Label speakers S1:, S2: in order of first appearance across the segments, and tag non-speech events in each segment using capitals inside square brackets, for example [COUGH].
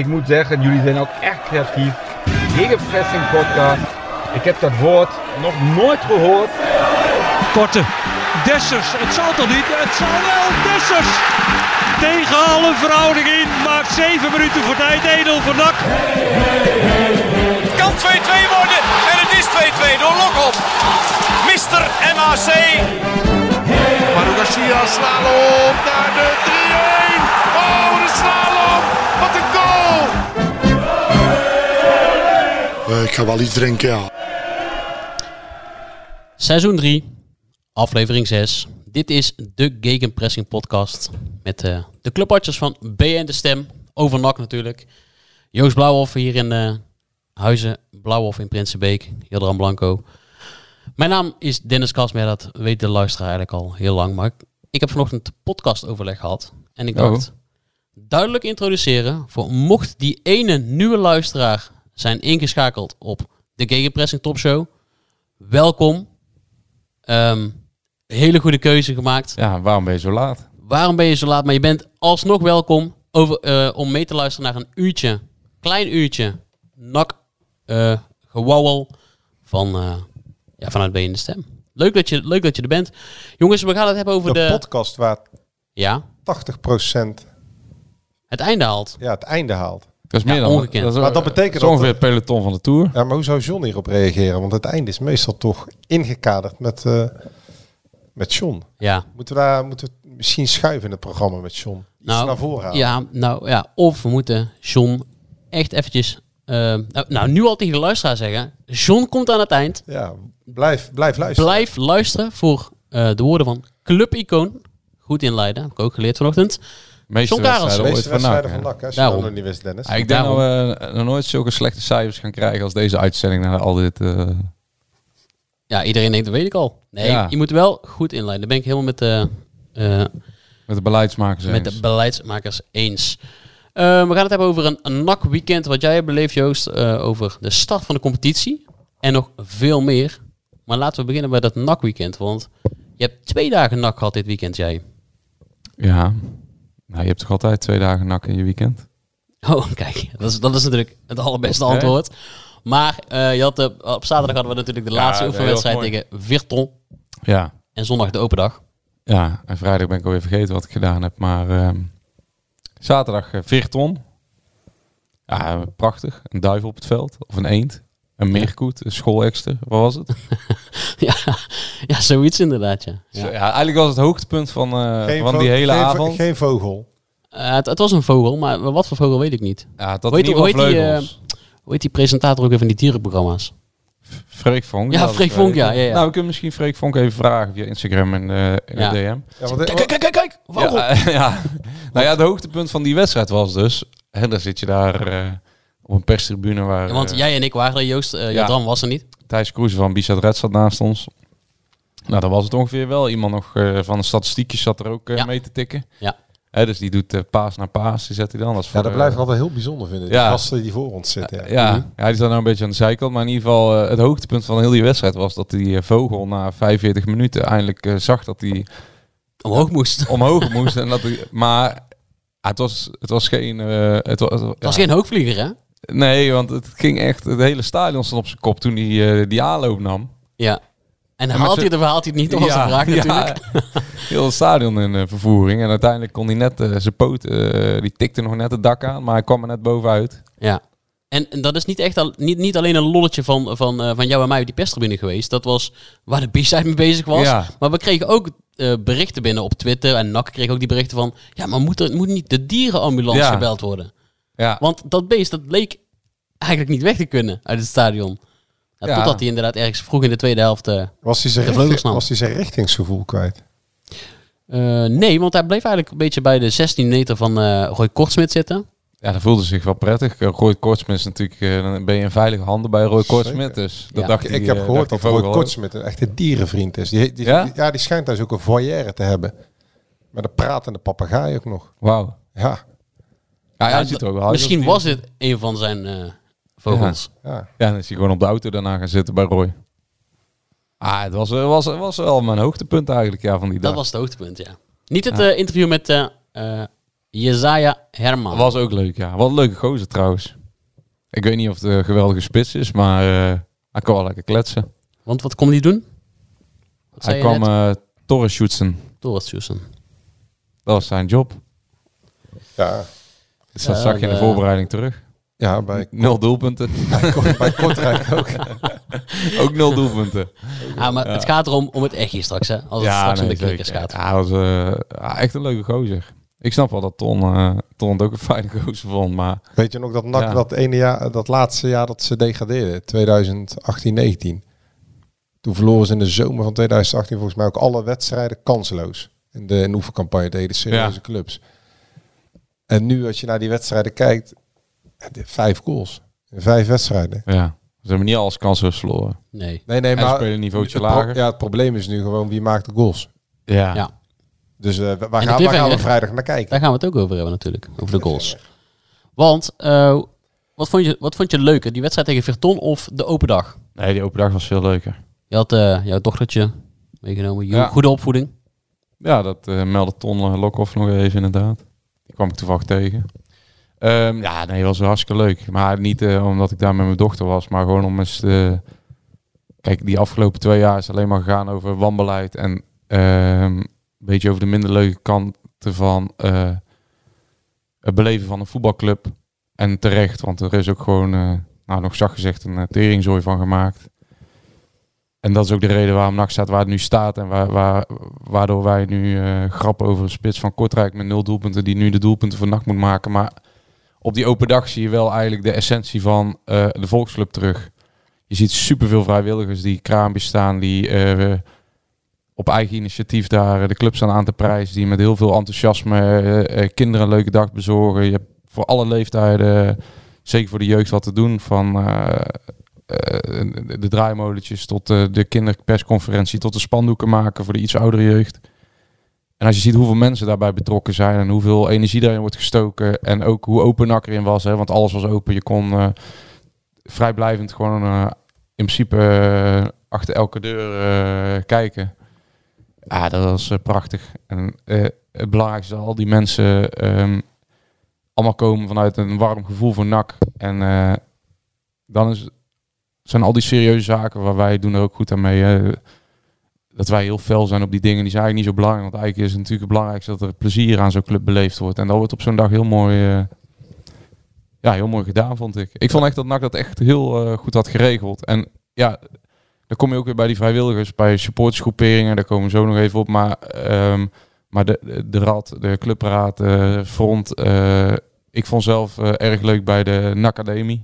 S1: Ik moet zeggen, jullie zijn ook echt creatief. Gegenpressing podcast. Ik heb dat woord nog nooit gehoord.
S2: Korte. Dessers. Het zal toch niet? Het zal wel. Dessers. Tegen alle verhouding in. Maakt 7 minuten voor tijd. Edel voor Dak.
S3: Het kan 2-2 worden. En het is 2-2 door Lokop. Mister MAC.
S4: Maru Garcia, slalom naar de 3-1. Oh, de slalom. Wat een goal.
S5: Eh, ik ga wel iets drinken, ja.
S6: Seizoen 3, aflevering 6. Dit is de Gegenpressing podcast met eh, de clubartsers van BN De Stem, over NAC natuurlijk. Joost Blauwhof hier in eh, Huizen, Blauwhof in Prinsenbeek, Hilderam Blanco. Mijn naam is Dennis Kasmer, dat weet de luisteraar eigenlijk al heel lang. Maar ik heb vanochtend podcastoverleg gehad en ik dacht, duidelijk introduceren voor mocht die ene nieuwe luisteraar zijn ingeschakeld op de Gegenpressing Topshow. Welkom, Ehm, hele goede keuze gemaakt.
S7: Ja, waarom ben je zo laat?
S6: Waarom ben je zo laat? Maar je bent alsnog welkom over, eh, om mee te luisteren naar een uurtje, klein uurtje, nak eh gewauwel van, eh ja, vanuit Ben je in de Stem. Leuk dat, je, leuk dat je er bent. Jongens, we gaan het hebben over
S8: De,
S6: de...
S8: podcast waar
S6: ja,
S8: 80%
S6: het einde haalt.
S8: ja, het einde haalt.
S7: Dat is
S6: Ja,
S7: meer dan
S6: ongekend.
S7: Dat is,
S8: Maar dat betekent
S7: dat is ongeveer
S8: dat-
S7: het peloton van de Tour.
S8: Ja, maar hoe zou John hierop reageren? Want het einde is meestal toch ingekaderd met, eh, met John.
S6: Ja.
S8: Moeten we daar moeten we het misschien schuiven in het programma met John? Iets
S6: Nou,
S8: naar voren halen.
S6: Ja, nou ja, of we moeten John echt eventjes... eh, nou, nou, nu al tegen de luisteraar zeggen. John komt aan het eind.
S8: Ja, blijf, blijf luisteren.
S6: Blijf luisteren voor eh, de woorden van Club Icoon. Goed inleiden, heb ik ook geleerd vanochtend.
S7: De meeste
S6: John Karelsen.
S7: wedstrijden
S8: De
S7: ooit
S8: meeste
S7: van nou,
S8: wedstrijden
S7: NAC, hè.
S8: van NAC, hè, als je
S6: Daarom.
S8: dat nog niet wist, Dennis.
S7: Ja, ik denk dat
S6: Daarom.
S7: we eh, nog nooit zulke slechte cijfers gaan krijgen als deze uitzending na al dit... eh,
S6: Ja, iedereen denkt, dat weet ik al. Nee,
S7: Ja.
S6: je moet wel goed inleiden. Daar ben ik helemaal met de, eh,
S7: met de beleidsmakers
S6: met
S7: eens.
S6: de beleidsmakers eens. Eh, we gaan het hebben over een, een NAC-weekend wat jij hebt beleefd, Joost. eh, over de start van de competitie. En nog veel meer. Maar laten we beginnen bij dat NAC-weekend. Want je hebt twee dagen NAC gehad dit weekend, jij.
S7: Ja. Nou, je hebt toch altijd twee dagen nak in je weekend?
S6: [LAUGHS] Oh, kijk, dat is, dat is natuurlijk het allerbeste antwoord. Maar eh, je had, de- op zaterdag hadden we natuurlijk de
S7: Ja,
S6: laatste
S7: heel
S6: oefenwedstrijd
S7: mooi.
S6: tegen Virton.
S7: Ja.
S6: En zondag de open dag. [LAUGHS]
S7: Ja, en vrijdag ben ik alweer vergeten wat ik gedaan heb. Maar ehm, zaterdag eh, Virton. Ja, prachtig. Een duif op het veld. Of een eend. Een meerkoet. Een schoolekster. Wat was het?
S6: ja, ja, zoiets inderdaad, ja. Ja.
S7: Ja. eigenlijk was het hoogtepunt van, eh,
S8: Geen
S7: van
S8: vo-
S7: die hele
S8: geen vo-
S7: avond.
S8: Geen vogel.
S6: Eh, het, het was een vogel, maar wat voor vogel weet ik niet.
S7: Ja, dat
S6: Hoe heet
S7: in
S6: die-
S7: ieder geval
S6: hoe heet die,
S7: vleugels.
S6: Hoe heet die presentator ook even van die dierenprogramma's?
S7: Freek Vonk.
S6: ehm, Ja,
S7: dat is
S6: Freek
S7: wel
S6: Vonk, ja,
S7: even.
S6: ja, ja.
S7: Nou, we kunnen misschien Freek Vonk even vragen via Instagram en eh, in
S6: Ja.
S7: de DM.
S8: Ja, want,
S6: Kijk, kijk, kijk, kijk! Vogel!
S7: Ja, eh, [LAUGHS] ja. Nou ja, het hoogtepunt van die wedstrijd was dus... Hè, dan zit je daar eh, op een perstribune waar
S6: Ja, want
S7: eh,
S6: jij en ik waren er, Joost. eh
S7: ja.
S6: Jadran was er niet.
S7: Thijs Kroes van Bizet Red zat naast ons. Nou, dan was het ongeveer wel. Iemand nog eh, van de statistiekjes zat er ook eh,
S6: Ja.
S7: mee te tikken.
S6: Ja.
S7: Hè, dus die doet eh, paas naar paas, die zet hij dan. Dat, is
S8: ja,
S7: voor,
S8: dat blijf ik
S7: eh,
S8: altijd heel bijzonder vinden. Die
S7: Ja.
S8: gasten die voor ons zitten. Ja. Mhm.
S7: Ja, ja, die staat nou een beetje aan de zijkant. Maar in ieder geval, eh, het hoogtepunt van heel die wedstrijd was dat die eh, vogel na 45 minuten eindelijk eh, zag dat hij
S6: Omhoog [LAUGHS] moest. [LAUGHS] Het
S7: omhoog moest. En dat hij, maar ah, het, was, het was geen... eh, het was, ja.
S6: was geen hoogvlieger, hè?
S7: Nee, want het ging echt... Het hele stadion stond op zijn kop toen hij eh, die aanloop nam.
S6: Ja. En
S7: maar
S6: haalt
S7: ze-
S6: hij het of haalt hij [LAUGHS] het niet? Dat was de vraag natuurlijk.
S7: [LAUGHS] ja. heel het stadion in eh, vervoering. En uiteindelijk kon hij net eh, zijn poot... eh, die tikte nog net het dak aan, maar hij kwam er net bovenuit.
S6: Ja. En en dat is niet, echt al, niet, niet alleen een lolletje van, van, eh, van jou en mij op die perstribune geweest. Dat was waar de [LAUGHS] B-side mee bezig was.
S7: Ja.
S6: Maar we kregen ook eh, berichten binnen op Twitter. En NAC kreeg ook die berichten van... Ja, maar moet, er, moet niet de dierenambulance
S7: Ja.
S6: gebeld worden?
S7: Ja,
S6: Want dat beest, dat leek eigenlijk niet weg te kunnen uit het stadion. Ja,
S7: Ja.
S6: Totdat hij inderdaad ergens vroeg in de tweede helft... eh,
S8: Was hij zijn
S6: De
S8: richting-
S6: vleugelsnap.
S8: was hij zijn richtingsgevoel kwijt?
S6: eh, nee, want hij bleef eigenlijk een beetje bij de 16 meter van eh Roy Kortsmit zitten.
S7: Ja, dat voelde zich wel prettig. Eh, Roy Kortsmit is natuurlijk, eh, dan ben je in veilige handen bij Roy Kortsmit. Dus dat
S6: Ja.
S7: dacht
S8: Ik,
S7: hij,
S8: ik heb
S7: eh,
S8: gehoord dat
S7: dacht
S8: Roy
S7: hij vogel ook.
S8: Kortsmit een echte dierenvriend is. Die, die,
S7: Ja?
S8: die- ja, die schijnt thuis ook een foyer te hebben. Met een pratende papegaai ook nog.
S7: Wauw.
S8: Ja,
S7: Ja, hij
S6: Ja,
S7: ziet
S6: d-
S7: er ook wel uit.
S6: Misschien
S7: Als die-
S6: was dit een van zijn eh, vogels.
S8: ja.
S7: Ja, dan is hij gewoon op de auto daarna gaan zitten bij Roy. Ah, het was, eh, was, was wel mijn hoogtepunt eigenlijk ja, van die dag.
S6: Dat was het hoogtepunt, ja. Niet het eh, interview met eh eh, Jezaja Herman.
S7: was ook leuk, ja. Wat een leuke gozer trouwens. Ik weet niet of het een geweldige spits is, maar eh, hij kan wel lekker kletsen.
S6: Want wat kon die doen? Wat zei
S7: Hij
S6: je
S7: kwam
S6: net?
S7: eh torren shootsen.
S6: Torres Susan.
S7: Dat was zijn job.
S8: Ja,
S7: Dus dat
S6: Ja,
S7: zag je in de
S6: de-
S7: voorbereiding terug.
S8: ja bij,
S7: Nul
S6: [LAUGHS]
S7: doelpunten.
S8: [LAUGHS] bij,
S7: [LAUGHS]
S8: Kort- bij Kortrijk ook.
S7: ook nul doelpunten.
S6: Ah, maar het gaat erom om het echtje straks, hè? Als het straks om de
S7: zeker.
S6: klinkers gaat.
S7: Ja, hij was eh, ja, echt een leuke gozer. Ik snap wel dat Ton, eh, Ton het ook een fijne gozer vond, maar
S8: Weet je nog dat NAC
S7: Ja.
S8: dat, ene jaar, dat laatste jaar dat ze degradeerden, 2018-19? Toen verloren ze in de zomer van 2018 volgens mij ook alle wedstrijden kansloos. In de in de oefencampagne deden serieuze
S7: Ja.
S8: clubs. En nu als je naar die wedstrijden kijkt, eh, de- vijf goals. in Vijf wedstrijden.
S7: ja, ze hebben niet alles kansloos verloren.
S6: Nee.
S8: Nee, nee,
S7: En
S8: maar
S7: ze spelen een niveautje
S8: het pro-
S7: lager.
S8: Ja, het probleem is nu gewoon wie maakt de goals.
S7: Ja.
S6: Ja.
S8: Dus eh, wa- waar,
S6: de
S8: gaan, waar gaan we
S6: cliffhanger.
S8: vrijdag naar kijken?
S6: Daar gaan we het ook over hebben natuurlijk, over de goals. Want, eh, wat, vond je, wat vond je leuker, die wedstrijd tegen Verton of de open dag?
S7: Nee, die open dag was veel leuker.
S6: Je had eh, jouw dochtertje meegenomen, Jo-
S7: Ja.
S6: goede opvoeding.
S7: Ja, dat eh meldde Ton eh, Lokhoff nog even inderdaad. Die kwam ik toevallig tegen. Ehm, ja, nee, was wel hartstikke leuk. Maar niet eh, omdat ik daar met mijn dochter was, maar gewoon om eens... te- kijk, die afgelopen twee jaar is alleen maar gegaan over wanbeleid en ehm, een beetje over de minder leuke kanten van eh, het beleven van een voetbalclub. En terecht, want er is ook gewoon, eh, nou nog zacht gezegd, een eh, teringzooi van gemaakt. En dat is ook de reden waarom NAC staat waar het nu staat. En waar, waar, waardoor wij nu eh, grappen over een spits van Kortrijk met nul doelpunten. Die nu de doelpunten voor NAC moet maken. Maar op die open dag zie je wel eigenlijk de essentie van eh, de volksclub terug. Je ziet superveel vrijwilligers die kraampjes staan. Die eh, op eigen initiatief daar eh, de club staan aan te prijzen. Die met heel veel enthousiasme eh, eh, kinderen een leuke dag bezorgen. Je hebt voor alle leeftijden, zeker voor de jeugd, wat te doen. Van eh, eh, de draaimolentjes tot eh, de kinderpersconferentie, tot de spandoeken maken voor de iets oudere jeugd. En als je ziet hoeveel mensen daarbij betrokken zijn en hoeveel energie daarin wordt gestoken en ook hoe open NAC erin was, hè, want alles was open. Je kon eh, vrijblijvend gewoon eh, in principe eh, achter elke deur eh, kijken. Ja, dat was eh, prachtig. En eh, het belangrijkste is dat al die mensen ehm, allemaal komen vanuit een warm gevoel voor NAC. En eh, dan is, zijn al die serieuze zaken waar wij doen er ook goed aan mee. eh, dat wij heel fel zijn op die dingen, die zijn eigenlijk niet zo belangrijk. Want eigenlijk is het natuurlijk het belangrijkste dat er plezier aan zo'n club beleefd wordt. En dat wordt op zo'n dag heel mooi, eh, ja, heel mooi gedaan, vond ik. Ik vond echt dat NAC dat echt heel eh, goed had geregeld. En ja, dan kom je ook weer bij die vrijwilligers, bij supportersgroeperingen. Daar komen we zo nog even op. Maar, ehm, maar de, de, de rad, de clubraad, de front. eh, ik vond zelf eh, erg leuk bij de NAC Academie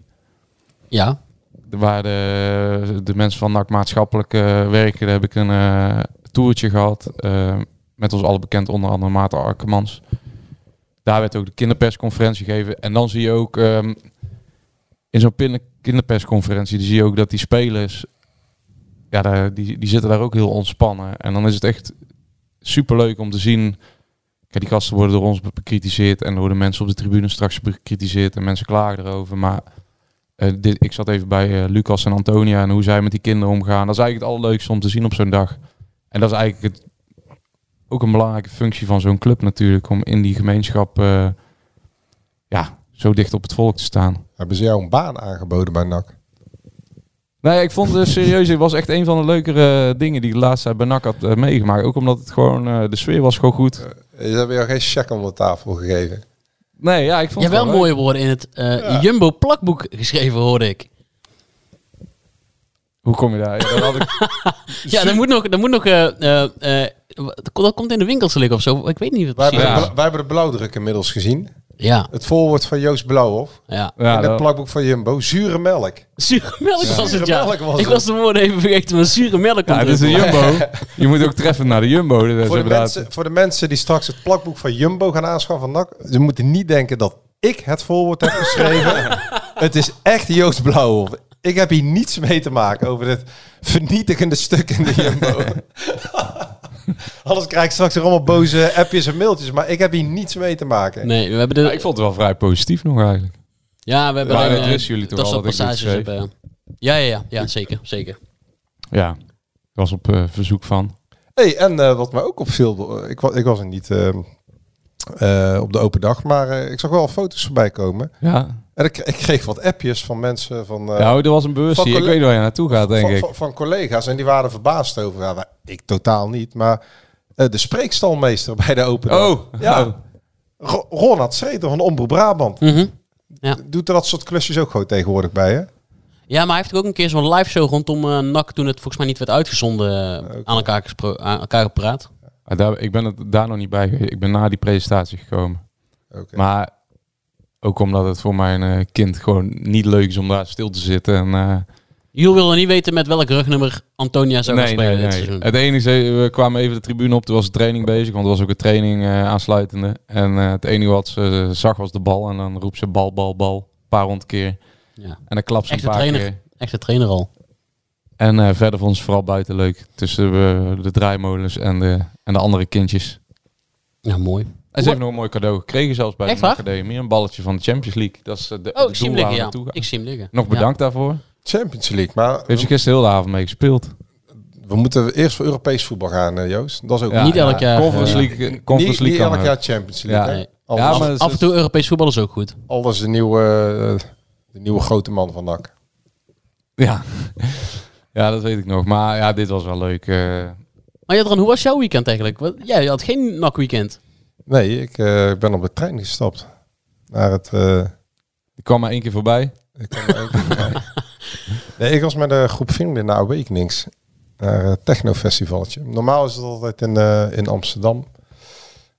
S6: Ja,
S7: waar de, de mensen van NAC maatschappelijk eh, werken, daar heb ik een eh, toertje gehad. eh, met ons alle bekend, onder andere Maarten Arkemans. Daar werd ook de kinderpersconferentie gegeven. En dan zie je ook ehm, in zo'n pin- kinderpersconferentie, dan zie je ook dat die spelers, ja, daar, die, die zitten daar ook heel ontspannen. En dan is het echt superleuk om te zien. Kijk, die gasten worden door ons be- bekritiseerd en door de mensen op de tribune straks bekritiseerd en mensen klagen erover. Maar eh, dit, ik zat even bij eh, Lucas en Antonia en hoe zij met die kinderen omgaan. Dat is eigenlijk het allerleukste om te zien op zo'n dag. En dat is eigenlijk het, ook een belangrijke functie van zo'n club natuurlijk. Om in die gemeenschap eh, ja, zo dicht op het volk te staan.
S8: Hebben ze jou een baan aangeboden bij NAC?
S7: Nee, ik vond het serieus. Het was echt een van de leukere eh, dingen die ik de laatste tijd bij NAC had eh, meegemaakt. Ook omdat het gewoon, eh, de sfeer was gewoon goed.
S8: Eh, Ze hebben jou geen check onder de tafel gegeven.
S7: Nee, ja, ik vond
S6: je
S7: het
S6: wel
S7: leuk.
S6: mooie woorden in het eh, Jumbo plakboek geschreven, hoorde ik.
S7: Hoe kom je daar? Ja, dat had
S8: [LAUGHS]
S7: ik-
S6: Ja, dat moet nog, dat moet nog, eh, eh, eh, dat komt in de winkels te liggen of zo. Ik weet niet
S8: Wij
S6: wat
S8: hebben,
S6: precies.
S7: Ja.
S8: de, bla- wij hebben de blauwdruk inmiddels gezien.
S6: Ja,
S8: Het voorwoord van Joost Blauwhof.
S6: ja.
S7: ja,
S8: en het
S7: dat-
S8: plakboek van Jumbo. Zure melk.
S6: Zure melk was
S8: Zure
S6: het, ja.
S8: melk was
S6: ik
S8: het.
S6: was de woorden even vergeten, maar zure melk
S7: ja, het
S6: komt
S7: is de
S6: erin.
S7: Jumbo. Je moet ook treffen naar de Jumbo. Dat is
S8: [LAUGHS] Voor de,
S7: Dus inderdaad-
S8: mensen, voor de mensen die straks het plakboek van Jumbo gaan aanschaffen van NAC. Ze moeten niet denken dat ik het voorwoord heb geschreven. het is echt Joost Blauwhof. Ik heb hier niets mee te maken over dit vernietigende stuk in de Jumbo. Anders krijg ik straks er allemaal boze appjes en mailtjes. Maar ik heb hier niets mee te maken.
S6: Nee, we hebben
S7: Ja,
S6: de,
S7: ik vond het wel vrij positief nog eigenlijk.
S6: Ja, we hebben
S7: Maar
S6: alleen,
S7: dat
S6: eh,
S7: wisten jullie toch
S6: dat
S7: al
S6: soort
S7: dat ik dit
S6: passages
S7: schreef?
S6: hebben. Ja, ja, ja, ja, zeker, zeker.
S7: Ja, ik was op eh, verzoek van.
S8: Hey, en eh, wat mij ook opviel, eh, ik was, ik was er niet eh, eh, op de open dag. Maar eh, ik zag wel foto's voorbij komen.
S7: Ja.
S8: En ik, ik kreeg wat appjes van mensen van, eh,
S7: Nou, er was een beurs
S8: van
S7: hier. Ik
S8: colle-
S7: weet niet waar je naartoe gaat, denk
S8: van,
S7: ik.
S8: van, van collega's. En die waren verbaasd over. Ja, maar ik totaal niet. Maar eh, de spreekstalmeester [LAUGHS] bij de open dag.
S7: Oh,
S8: Ja.
S7: oh. Mhm.
S8: Ro- Ronald Schreder van Omroep Brabant. Doet er dat soort klusjes ook gewoon tegenwoordig bij, hè?
S6: Ja, maar hij heeft ook een keer zo'n live show rondom eh NAC toen het volgens mij niet werd uitgezonden eh, aan, elkaar gespro- aan elkaar gepraat.
S7: Maar Ah, daar, ik ben het daar nog niet bij geweest. Ik ben na die presentatie gekomen.
S8: Oké.
S7: Maar ook omdat het voor mijn eh, kind gewoon niet leuk is om daar stil te zitten. En, eh,
S6: Jules wilde niet weten met welk rugnummer Antonia zou gaan
S7: nee,
S6: spelen
S7: nee,
S6: dit
S7: nee.
S6: seizoen.
S7: Het enige, eh, we kwamen even de tribune op. Toen was de training bezig, want er was ook een training eh, aansluitende. En eh, het enige wat ze zag was de bal. En dan roept ze bal, bal, bal. Een paar honderd keer.
S6: Ja.
S7: En dan klapt ze
S6: Echte
S7: een paar
S6: trainer.
S7: keer.
S6: Echte trainer al.
S7: En eh, verder vond ze vooral buiten leuk. Tussen eh, de draaimolens en de, en de andere kindjes.
S6: Ja, mooi.
S7: En ze heeft nog een mooi cadeau gekregen zelfs bij
S6: Echt
S7: de
S6: waar?
S7: academie. Een balletje van de Champions League. Dat is eh, de,
S6: Oh,
S7: de
S6: ik zie hem
S7: doel waar
S6: liggen,
S7: we
S6: ja.
S7: naartoe gaan.
S6: Ik zie hem liggen.
S7: Nog bedankt daarvoor.
S8: Champions League. Maar
S7: Heeft ze gisteren heel de avond mee gespeeld.
S8: we moeten eerst voor Europees voetbal gaan, eh, Joost. Dat is ook
S7: Ja,
S6: Niet elk jaar.
S7: Conference
S6: eh,
S7: League, eh, Conference League
S8: niet, niet
S7: kan
S8: elk
S7: ook.
S8: jaar Champions League.
S7: Ja,
S8: hè?
S6: nee.
S8: Al,
S7: Ja,
S8: ja,
S7: maar-
S8: maar...
S7: het
S6: Af
S7: is-
S6: en toe Europees voetbal is ook goed.
S8: al is de nieuwe, eh, de nieuwe grote man van NAC.
S7: eh, [LAUGHS] Ja. ja, dat weet ik nog. Maar ja, dit was wel leuk. eh.
S6: Maar Jadran, hoe was jouw weekend eigenlijk? Wat- Jij had geen NAC-weekend.
S8: Nee, ik eh, ben op de trein gestapt. Naar het... eh,
S7: ik kwam maar één keer voorbij.
S8: ik [LAUGHS] kwam er even bij. nee, ik was met een groep vrienden naar Awakenings. Naar een technofestivaletje. Normaal is het altijd in, eh, in Amsterdam.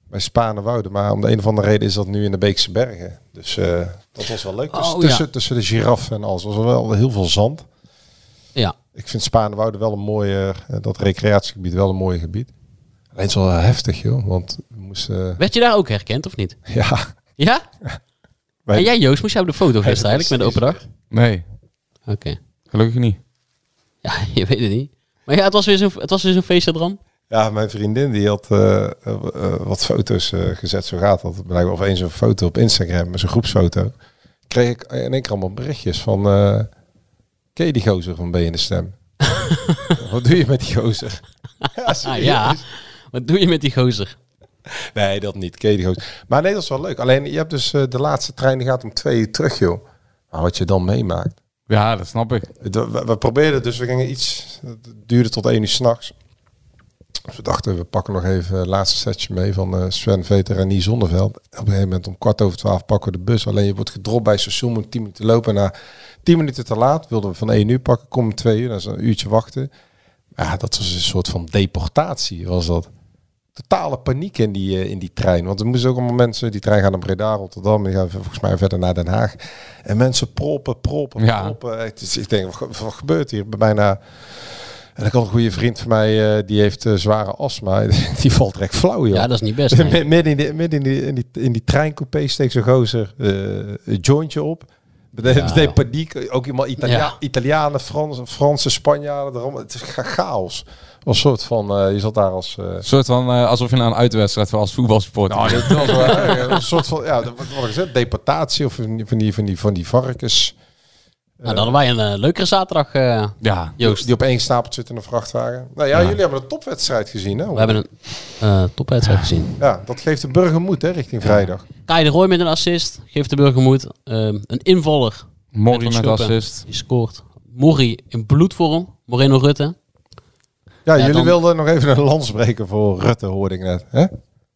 S8: Bij Spaanwouden. Maar om de een of andere reden is dat nu in de Beekse Bergen. Dus eh, dat was wel leuk. Dus
S6: Oh,
S8: tussen, tussen de giraffen en alles was er wel heel veel zand.
S6: Ja.
S8: Ik vind Spaanwouden wel een mooie... eh, dat recreatiegebied wel een mooi gebied. Alleen het is wel heftig, joh. Want we moesten... [LAUGHS]
S6: Werd je daar ook herkend of niet?
S8: Ja...
S6: Ja?
S8: Wij-
S6: En jij, Joost, moest jij op de foto gisteren eigenlijk met de open dag?
S7: Nee,
S6: Oké.
S7: gelukkig niet.
S6: Ja, [LAUGHS] je weet het niet. Maar ja, het was weer zo'n, het was weer zo'n feest, Jadran.
S8: Ja, mijn vriendin die had eh, eh, eh, wat foto's eh, gezet, zo gaat dat. Blijkbaar of eens een foto op Instagram, zo'n groepsfoto. Kreeg ik in één keer allemaal berichtjes van... eh Ken je die gozer van B in de Stem? wat doe je met die gozer? ja,
S6: Ah,
S8: serieus.
S6: ja. Wat doe je met die gozer?
S8: Nee, dat niet. Ken je die gozer? Maar nee, dat is wel leuk. Alleen je hebt dus eh, de laatste trein, die gaat om twee uur terug, joh. Maar wat je dan meemaakt.
S7: Ja, dat snap ik.
S8: Het- We, we probeerden dus, we gingen iets, het duurde tot één uur s'nachts. Dus we dachten, we pakken nog even het laatste setje mee van eh, Sven Veter en Nie Zonneveld. Op een gegeven moment om kwart over twaalf pakken we de bus. Alleen je wordt gedropt bij het station, moet tien minuten lopen. En na tien minuten te laat wilden we van één uur pakken, kom om twee uur, dan is een uurtje wachten. Ja, dat was een soort van deportatie, was dat. Totale paniek in die, eh, in die trein. Want er moesten ook allemaal mensen, die trein gaan naar Breda, Rotterdam, die gaan volgens mij verder naar Den Haag. En mensen proppen, proppen,
S7: Ja.
S8: proppen. Het is- Ik denk, wat, wat gebeurt hier? Bijna en ik had een goede vriend van mij, eh, die heeft eh, zware astma. [LAUGHS] die valt recht flauw, joh.
S6: Ja, dat is niet best. nee.
S8: Mid- [LAUGHS] Midden in, die, midden in, die, in, die, in die treincoupé steekt zo'n gozer eh, een jointje op. Meteen meteen paniek. Ook iemand Italia
S6: Ja.
S8: Italianen, Frans, Fransen, Spanjaarden. erom. Het is ga- chaos. Als soort van, eh, je zat daar als... eh,
S7: Een soort van eh, alsof je naar een uitwedstrijd was als voetbalsupporter.
S8: nou, dit was wel erg. Een soort van, ja, wat wat gezegd, deportatie of van die, van die, van die, van die varkens.
S6: Nou, dan hadden wij een eh, leukere zaterdag, eh,
S7: ja.
S6: Joost.
S8: Die op één stapel zitten in een vrachtwagen. Nou ja,
S7: Ja.
S8: jullie hebben een topwedstrijd gezien, hè?
S6: We hebben een eh topwedstrijd gezien.
S8: Ja, dat geeft de burger moed, hè, richting vrijdag.
S6: Kai de Roy met een assist. Geeft de burger moed. Ehm, een invaller.
S7: Morrie
S6: Met
S7: met
S6: Van Schuppen.
S7: assist.
S6: Die scoort. Morri in bloedvorm. Moreno Rutte.
S8: Ja,
S6: Ja,
S8: jullie
S6: dan-
S8: wilden nog even een lans breken voor Rutte, hoorde ik net. Hè?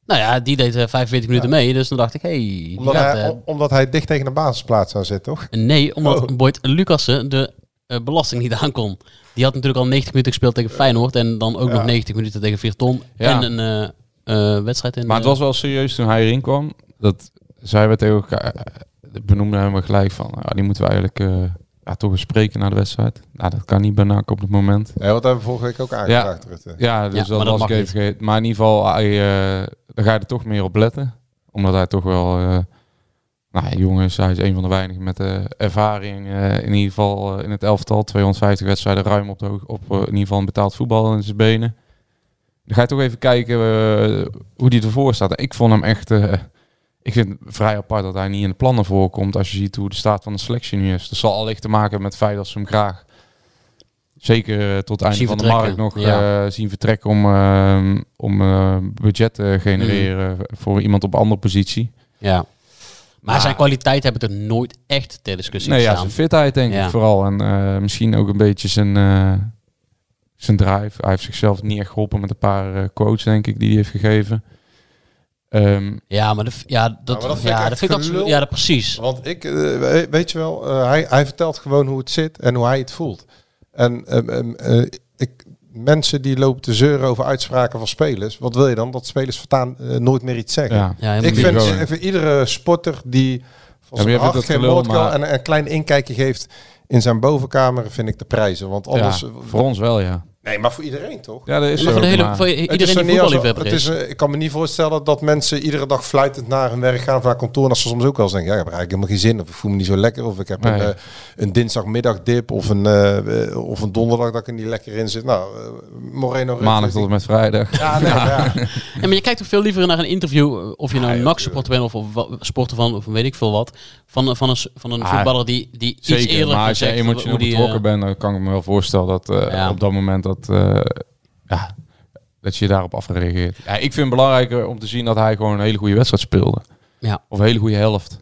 S6: Nou ja, die deed eh, 45 minuten mee. Dus dan dacht ik, hey, die
S8: Omdat,
S6: gaat,
S8: hij,
S6: eh,
S8: om- omdat hij dicht tegen de basisplaats zou zitten, toch?
S6: Nee, omdat
S8: Oh.
S6: Boyd Lucassen de eh, belasting niet [LAUGHS] aankon. Die had natuurlijk al 90 minuten gespeeld tegen Feyenoord. En dan ook nog 90 minuten tegen Virton.
S7: Ja.
S6: En een eh, eh, wedstrijd in...
S7: Maar het
S6: eh,
S7: was wel serieus toen hij erin kwam. Dat zeiden we tegen elkaar. eh, Benoemden hem er gelijk van. ah, die moeten we eigenlijk eh, ja, toch eens spreken na de wedstrijd. Nou, dat kan niet bij NAC op het moment.
S8: Ja, wat hebben we vorige week ook aangevraagd, Rutte.
S7: Ja,
S6: Ja,
S7: dus dat
S6: maar dat
S7: was ik
S6: mag
S7: even
S6: niet.
S7: vergeten. Maar in ieder geval, hij, eh, daar ga je er toch meer op letten. Omdat hij toch wel... eh nou, jongens, hij is een van de weinigen met eh, ervaring. eh, in ieder geval eh, in het elftal. 250 wedstrijden ruim op, de hoog, op eh, in ieder geval een betaald voetbal in zijn benen. Dan ga je toch even kijken eh, hoe die ervoor staat. Ik vond hem echt... eh, ik vind het vrij apart dat hij niet in de plannen voorkomt. Als je ziet hoe de staat van de selectie nu is. Dat zal allicht te maken hebben met het feit dat ze hem graag zeker eh, tot het einde
S6: Zien
S7: van de
S6: vertrekken,
S7: markt nog
S6: ja.
S7: eh, zien vertrekken om, eh, om eh, budget te genereren
S6: Mm.
S7: voor iemand op een andere positie.
S6: Ja. Maar zijn kwaliteit hebben we er nooit echt ter discussie
S7: Nee, ja,
S6: gestaan.
S7: zijn fitheid denk
S6: Ja.
S7: ik vooral. En eh, misschien ook een beetje zijn, eh, zijn drive. Hij heeft zichzelf niet echt geholpen met een paar eh, quotes, denk ik, die hij heeft gegeven. Ehm,
S6: Ja, maar de, f- ja, dat,
S8: maar dat vind ik
S6: ja,
S8: echt
S6: dat vind ik
S8: gelul.
S6: absoluut. Ja, dat precies.
S8: Want ik, eh, we- weet je wel, eh, hij, hij vertelt gewoon hoe het zit en hoe hij het voelt. En ehm, ehm, eh, ik, mensen die lopen te zeuren over uitspraken van spelers, wat wil je dan? Dat spelers vertaan eh, nooit meer iets zeggen.
S7: ja.
S6: Ja, helemaal
S8: Ik
S6: niet.
S8: vind
S7: Gewoon.
S8: even iedere sporter die van
S7: Ja, maar
S8: zijn
S7: jij vindt
S8: hart
S7: dat
S8: geen
S7: gelul,
S8: woord kan
S7: maar-
S8: en een klein inkijkje geeft in zijn bovenkamer, vind ik de prijzen. Want anders...
S7: ja, voor ons wel, ja.
S8: Nee, maar voor iedereen toch?
S7: Ja, dat is
S6: maar
S7: zo,
S6: voor, de hele,
S7: maar-
S6: voor
S8: Het is
S6: iedereen
S8: zo
S6: die
S8: niet als-
S6: voetballiefhebber
S8: het
S6: is.
S8: is, eh, Ik kan me niet voorstellen dat mensen iedere dag fluitend naar hun werk gaan, van haar kantoor. En dat ze soms ook wel eens denken, ja, ik heb eigenlijk helemaal geen zin. Of ik voel me niet zo lekker. Of ik heb een,
S7: Nee.
S8: eh, een dinsdagmiddagdip. Of een, eh, eh, of een donderdag dat ik er niet lekker in zit. Nou, eh, Moreno... Rut,
S7: Maandag
S8: weet
S7: tot
S8: ik-
S7: en met vrijdag.
S8: Ja, nee, ja.
S6: Ja, maar je kijkt ook veel liever naar een interview, eh,
S7: Ah,
S6: of je nou
S8: ja,
S6: een NAC-supporter bent of, of wa- sporter van, of weet ik veel wat, van, eh, van een, s- van een
S7: Ah,
S6: voetballer die, die iets
S7: Zeker,
S6: eerder
S7: maar als je emotioneel betrokken
S6: eh,
S7: bent, dan kan ik me wel voorstellen dat eh,
S6: Ja.
S7: op dat moment dat, eh, ja, dat je daarop afgereageerd. Ja, ik vind het belangrijker om te zien dat hij gewoon een hele goede wedstrijd speelde.
S6: Ja.
S7: Of een hele goede helft.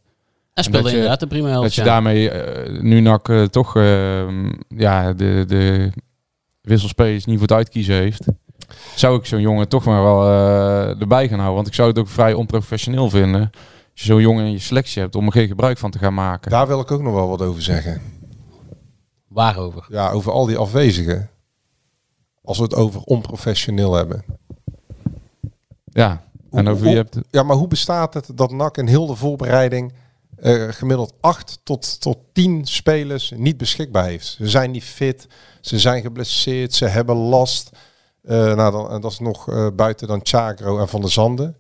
S6: Hij speelde
S7: dat je-
S6: inderdaad de prima helft.
S7: dat je
S6: ja.
S7: daarmee eh, nu NAC eh, toch eh, ja, de, de wisselspelers niet voor het uitkiezen heeft. Zou ik zo'n jongen toch maar wel eh, erbij gaan houden. Want ik zou het ook vrij onprofessioneel vinden. Als je zo'n jongen in je selectie hebt om er geen gebruik van te gaan maken.
S8: Daar wil ik ook nog wel wat over zeggen.
S6: Waarover?
S8: Ja, over al die afwezigen. Als we het over onprofessioneel hebben.
S7: Ja. En over wie je hebt
S8: Ja, maar hoe bestaat het dat NAC in heel de voorbereiding eh, gemiddeld 8 tot, tot 10 spelers niet beschikbaar heeft? Ze zijn niet fit, ze zijn geblesseerd, ze hebben last. Eh, nou, dan, en dat is nog eh, buiten dan Chagro en Van der Zanden.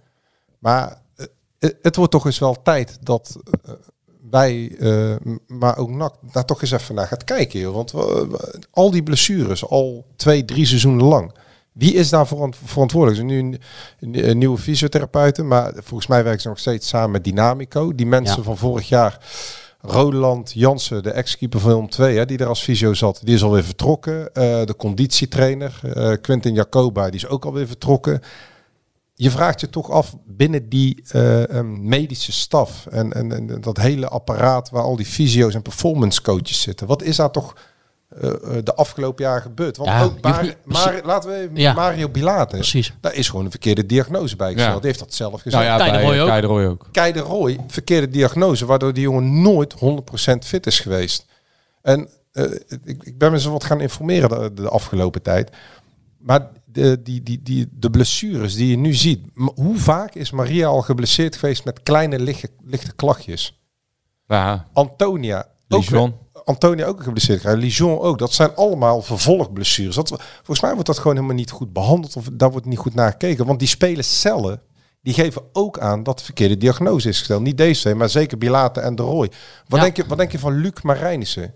S8: Maar eh, het- het wordt toch eens wel tijd dat eh, wij, eh, m- maar ook NAC, daar toch eens even naar gaat kijken. Joh. Want we- we- al die blessures, al twee, drie seizoenen lang. Wie is daar verant- verantwoordelijk? Er is nu een, een- een nieuwe fysiotherapeuten, maar volgens mij werken ze nog steeds samen met Dynamico. Die mensen
S6: Ja.
S8: van vorig jaar, Roland Jansen, de ex-keeper van Willem II, hè, die er als fysio zat, die is alweer vertrokken. Eh, de conditietrainer, eh, Quentin Jacoba, die is ook alweer vertrokken. Je vraagt je toch af binnen die eh, ehm, medische staf en, en, en dat hele apparaat waar al die fysio's en performance coaches zitten. Wat is daar toch eh, eh, de afgelopen jaren gebeurd? Want
S6: Ja, je
S8: ook
S6: hoeft
S8: Mar-
S6: niet-
S8: Mar- laten we even
S6: Ja.
S8: Mario Bilater.
S6: Precies.
S8: Daar is gewoon een verkeerde diagnose bij gesteld.
S7: Ja.
S8: Die heeft dat zelf gezegd.
S7: Nou ja,
S6: Kei Dus de
S7: bij
S6: Roy ook.
S7: Kei de Roy ook.
S8: Kei de Roy, verkeerde diagnose, waardoor die jongen nooit 100% fit is geweest. En eh, ik, ik ben me zo wat gaan informeren de, de afgelopen tijd. Maar de, die, die, die, de blessures die je nu ziet, m- hoe vaak is Maria al geblesseerd geweest met kleine lichte, lichte klachtjes?
S7: Ja,
S8: Antonia. ook
S7: Lijon.
S8: weer- Antonia ook geblesseerd. geraakt, Lijon ook. Dat zijn allemaal vervolgblessures. Dat, volgens mij wordt dat gewoon helemaal niet goed behandeld. Of daar wordt niet goed naar gekeken. Want die spelers cellen, die geven ook aan dat de verkeerde diagnose is gesteld. Niet deze twee, maar zeker Bilate en de Roy. Wat,
S6: Ja.
S8: denk, je, wat denk je van Luc Marijnissen?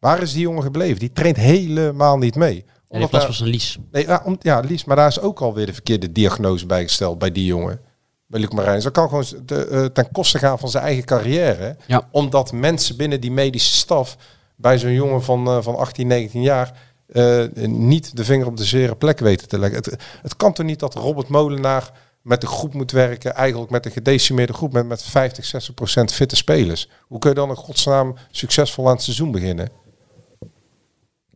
S8: Waar is die jongen gebleven? Die traint helemaal niet mee.
S6: En in
S8: Omdat
S6: plaats
S8: daar-
S6: van zijn lies.
S8: Nee, ja, om, ja, Lies, maar daar is ook alweer de verkeerde diagnose bij gesteld bij die jongen. Bij Luc Marijns. Dat kan gewoon te- eh, ten koste gaan van zijn eigen carrière.
S6: Ja.
S8: Omdat mensen binnen die medische staf bij zo'n jongen van, eh, van 18, 19 jaar eh, niet de vinger op de zere plek weten te leggen. Het, het kan toch niet dat Robert Molenaar met de groep moet werken, eigenlijk met een gedecimeerde groep, met, met 50, 60 procent fitte spelers. Hoe kun je dan in godsnaam succesvol aan het seizoen beginnen?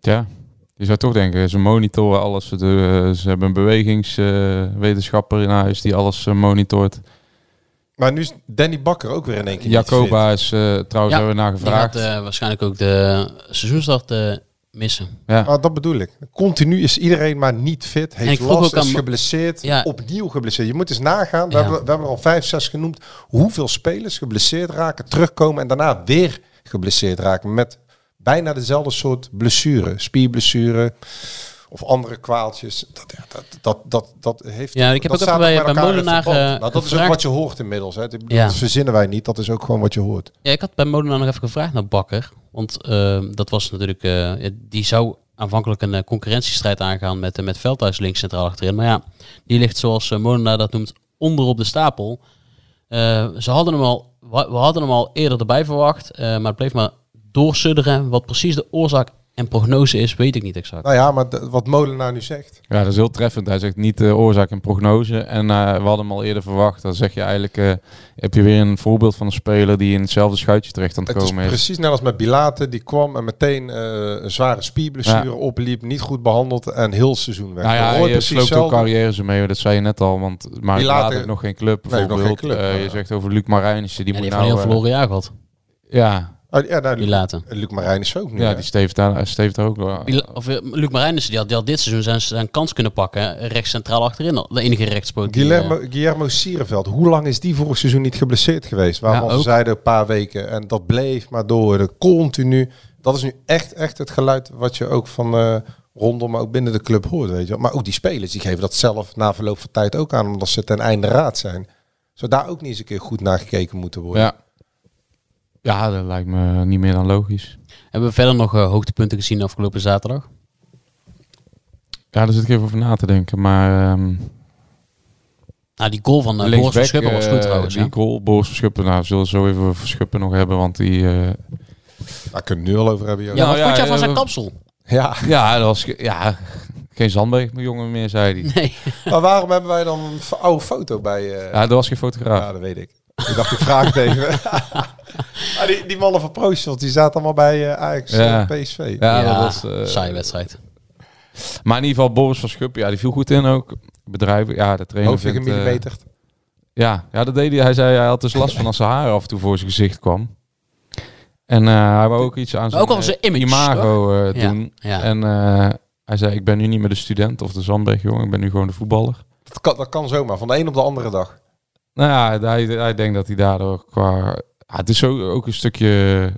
S7: ja. Je zou toch denken, ze monitoren alles. De, ze hebben een bewegingswetenschapper in huis die alles eh, monitort.
S8: Maar nu is Danny Bakker ook weer in één keer niet fit.
S7: Jacoba is eh, trouwens
S6: Ja,
S7: hebben we naar
S6: Die gaat
S7: gevraagd.
S6: eh, waarschijnlijk ook de seizoensstart eh, missen.
S7: ja.
S8: Ah, dat bedoel ik. Continu is iedereen maar niet fit.
S6: En ik
S8: Heeft
S6: vroeg
S8: last,
S6: ook aan
S8: is
S6: Ma-
S8: geblesseerd.
S6: Ja.
S8: Opnieuw geblesseerd. Je moet eens nagaan. We,
S6: Ja.
S8: hebben, we hebben er al vijf, zes genoemd. Hoeveel spelers geblesseerd raken, terugkomen en daarna weer geblesseerd raken. Met bijna dezelfde soort blessure. Spierblessure of andere kwaaltjes. Dat, ja, dat, dat, dat, dat heeft...
S6: Ja, ik heb
S8: dat
S6: ook
S8: staat
S6: even bij- bij
S8: elkaar in
S6: Molenaar,
S8: verband.
S6: eh,
S8: Nou, Dat is ook
S6: gevraagd.
S8: wat je hoort inmiddels. Hè. Dat,
S6: Ja.
S8: dat verzinnen wij niet. Dat is ook gewoon wat je hoort.
S6: Ja, ik had bij Molenaar nog even gevraagd naar Bakker. Want eh, dat was natuurlijk... eh, ja, die zou aanvankelijk een eh, concurrentiestrijd aangaan met, eh, met Veldhuis links centraal achterin. Maar ja, die ligt zoals eh, Molenaar dat noemt onder op de stapel. Eh, ze hadden hem al, we we hadden hem al eerder erbij verwacht. eh, maar het bleef maar doorsudderen. Wat precies de oorzaak en prognose is, weet ik niet exact.
S8: Nou ja, maar d- wat Molenaar nu zegt.
S7: Ja, dat is heel treffend. Hij zegt niet de oorzaak en prognose. En eh, we hadden hem al eerder verwacht. Dan zeg je eigenlijk, eh, heb je weer een voorbeeld van een speler die in hetzelfde schuitje terecht aan het,
S8: Het is
S7: komen is.
S8: precies net als met Bilate. Die kwam en meteen eh, een zware spierblessure
S7: Ja.
S8: opliep. Niet goed behandeld en heel het seizoen weg.
S7: Nou ja,
S8: Roy
S7: je
S8: precies
S7: sloopt ook
S8: hetzelfde.
S7: carrières mee. Dat zei je net al. Want maar
S8: Die
S7: later
S8: later-
S7: heeft nog geen club.
S8: Nee, heeft nog
S7: Bijvoorbeeld.
S8: geen club,
S7: Eh,
S8: maar
S7: je
S8: ja.
S7: zegt over Luc Marijnissen. Die
S6: en die
S7: moet
S6: heeft een
S7: nou...
S6: heel verloren jaar gehad.
S7: eh, ja,
S8: Oh, ja, nou, Luc,
S6: Bilate.
S8: Luc Marijn is ook nu.
S7: ja,
S8: hè?
S7: die steeft daar, steeft daar ook wel.
S6: Pila- Of, eh, Luc Marijnissen, die had, die had dit seizoen zijn, zijn kans kunnen pakken. hè. Rechts centraal achterin, al. de enige rechtspoot. die, eh,
S8: Guillermo, Guillermo Sierenveld, hoe lang is die vorig seizoen niet geblesseerd geweest? Waarvan
S6: Ja, ook.
S8: ze zeiden een paar weken. En dat bleef maar door, eh, continu. Dat is nu echt, echt het geluid wat je ook van eh, rondom, maar ook binnen de club hoort. Weet je. wel. Maar ook die spelers, die geven dat zelf na verloop van tijd ook aan, omdat ze ten einde raad zijn. Zou daar ook niet eens een keer goed naar gekeken moeten worden?
S7: Ja. ja, dat lijkt me niet meer dan logisch.
S6: hebben we verder nog eh, hoogtepunten gezien afgelopen zaterdag?
S7: Ja, daar zit ik even over na te denken. Maar ehm
S6: Nou, die goal van eh
S7: linksback,
S6: Boris van Schuppen was goed
S7: eh,
S6: trouwens. hè.
S7: Die goal, Boris Verschuppen. Nou, we zullen zo even over Verschuppen nog hebben. Want die... eh,
S8: Daar kunnen we het nu al over hebben.
S6: Ja,
S8: joh.
S6: wat
S7: Nou ja,
S6: vond jij van
S7: eh,
S6: zijn
S7: we-
S6: kapsel?
S8: ja.
S7: ja, dat was... ge- Ja, geen Zandberg jongen meer, zei hij.
S6: Nee.
S8: Maar waarom hebben wij dan een oude foto bij? eh,
S7: Ja, dat was geen fotograaf.
S8: Ja, dat weet ik. Ik dacht, ik vraag het even.
S7: [LAUGHS]
S8: Ah, die, die mannen van ProShot, die zaten allemaal bij eh, Ajax
S7: Ja.
S8: en PSV.
S7: Ja,
S6: Ja,
S7: dat was... eh,
S6: saaie wedstrijd.
S7: maar in ieder geval, Boris van Schuppen, ja, die viel goed in ook. Bedrijven, ja, de trainer
S8: Hoofdje
S7: vindt, eh,
S8: gemillimeterd.
S7: ja, ja, dat deed hij. Hij zei, hij had dus last van als zijn haar af en toe voor zijn gezicht kwam. En eh, hij wou ook iets aan zijn,
S6: ook al zijn
S7: eh,
S6: image,
S7: imago eh,
S6: Ja,
S7: doen.
S6: ja.
S7: En eh, hij zei, ik ben nu niet meer de student of de Zandbergjongen. Ik ben nu gewoon de voetballer.
S8: Dat, kan, dat kan zomaar, van de een op de andere dag.
S7: Nou ja, hij, hij denkt dat hij daardoor qua... Ah, het is zo, ook een stukje...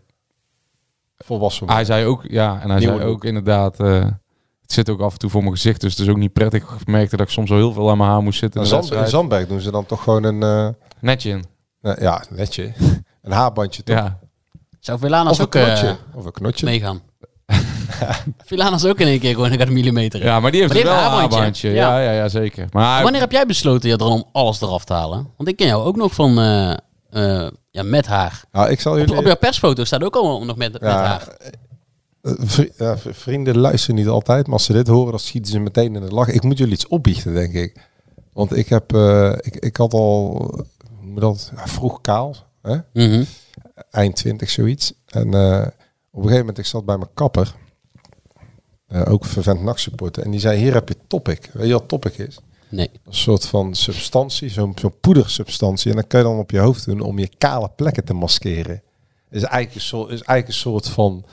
S8: Volwassen.
S7: Ah, Hij zei ook, ja, en hij
S8: Nieuwe
S7: zei
S8: look.
S7: ook inderdaad... eh, het zit ook af en toe voor mijn gezicht, dus het is ook niet prettig. Ik merkte dat ik soms wel heel veel aan mijn haar moest zitten.
S8: in,
S7: in de
S8: Zand, in
S7: wedstrijd.
S8: Zandberg doen ze dan toch gewoon een... eh,
S7: Netje in.
S8: nou, ja, netje. [LAUGHS] Een haarbandje toch?
S7: Ja.
S6: Zou Villanas
S8: Of een
S6: ook eh,
S8: knotje. Of een knotje.
S7: [LAUGHS]
S6: meegaan? Villanas ook in één keer gewoon, ik had een millimeter. in.
S7: ja, maar die heeft
S6: Maar die
S7: wel
S6: heeft
S7: een
S6: een haarbandje.
S7: haarbandje. Ja. Ja, ja, zeker. Maar
S6: Wanneer heb jij besloten, Jadran, om alles eraf te halen? Want ik ken jou ook nog van, eh, eh, ja, met haar.
S8: Nou, ik zal
S6: Op,
S8: jullie...
S6: op jouw persfoto staat ook allemaal nog met, met haar.
S8: eh, vri- ja, v- vrienden luisteren niet altijd, maar als ze dit horen, dan schieten ze meteen in de lach. Ik moet jullie iets opbiechten, denk ik. Want ik heb... eh, ik, ik had al... Hoe noem je dat? Ja, vroeg kaal. Hè?
S6: Mhm.
S8: eind 20 zoiets. En eh, op een gegeven moment, ik zat bij mijn kapper, eh, ook vervent nachtsupporter, en die zei, hier heb je topic. Weet je wat topic is?
S6: Nee.
S8: Een soort van substantie, zo'n zo'n poedersubstantie. En dat kun je dan op je hoofd doen om je kale plekken te maskeren. Is eigenlijk een soort, is eigenlijk een soort van...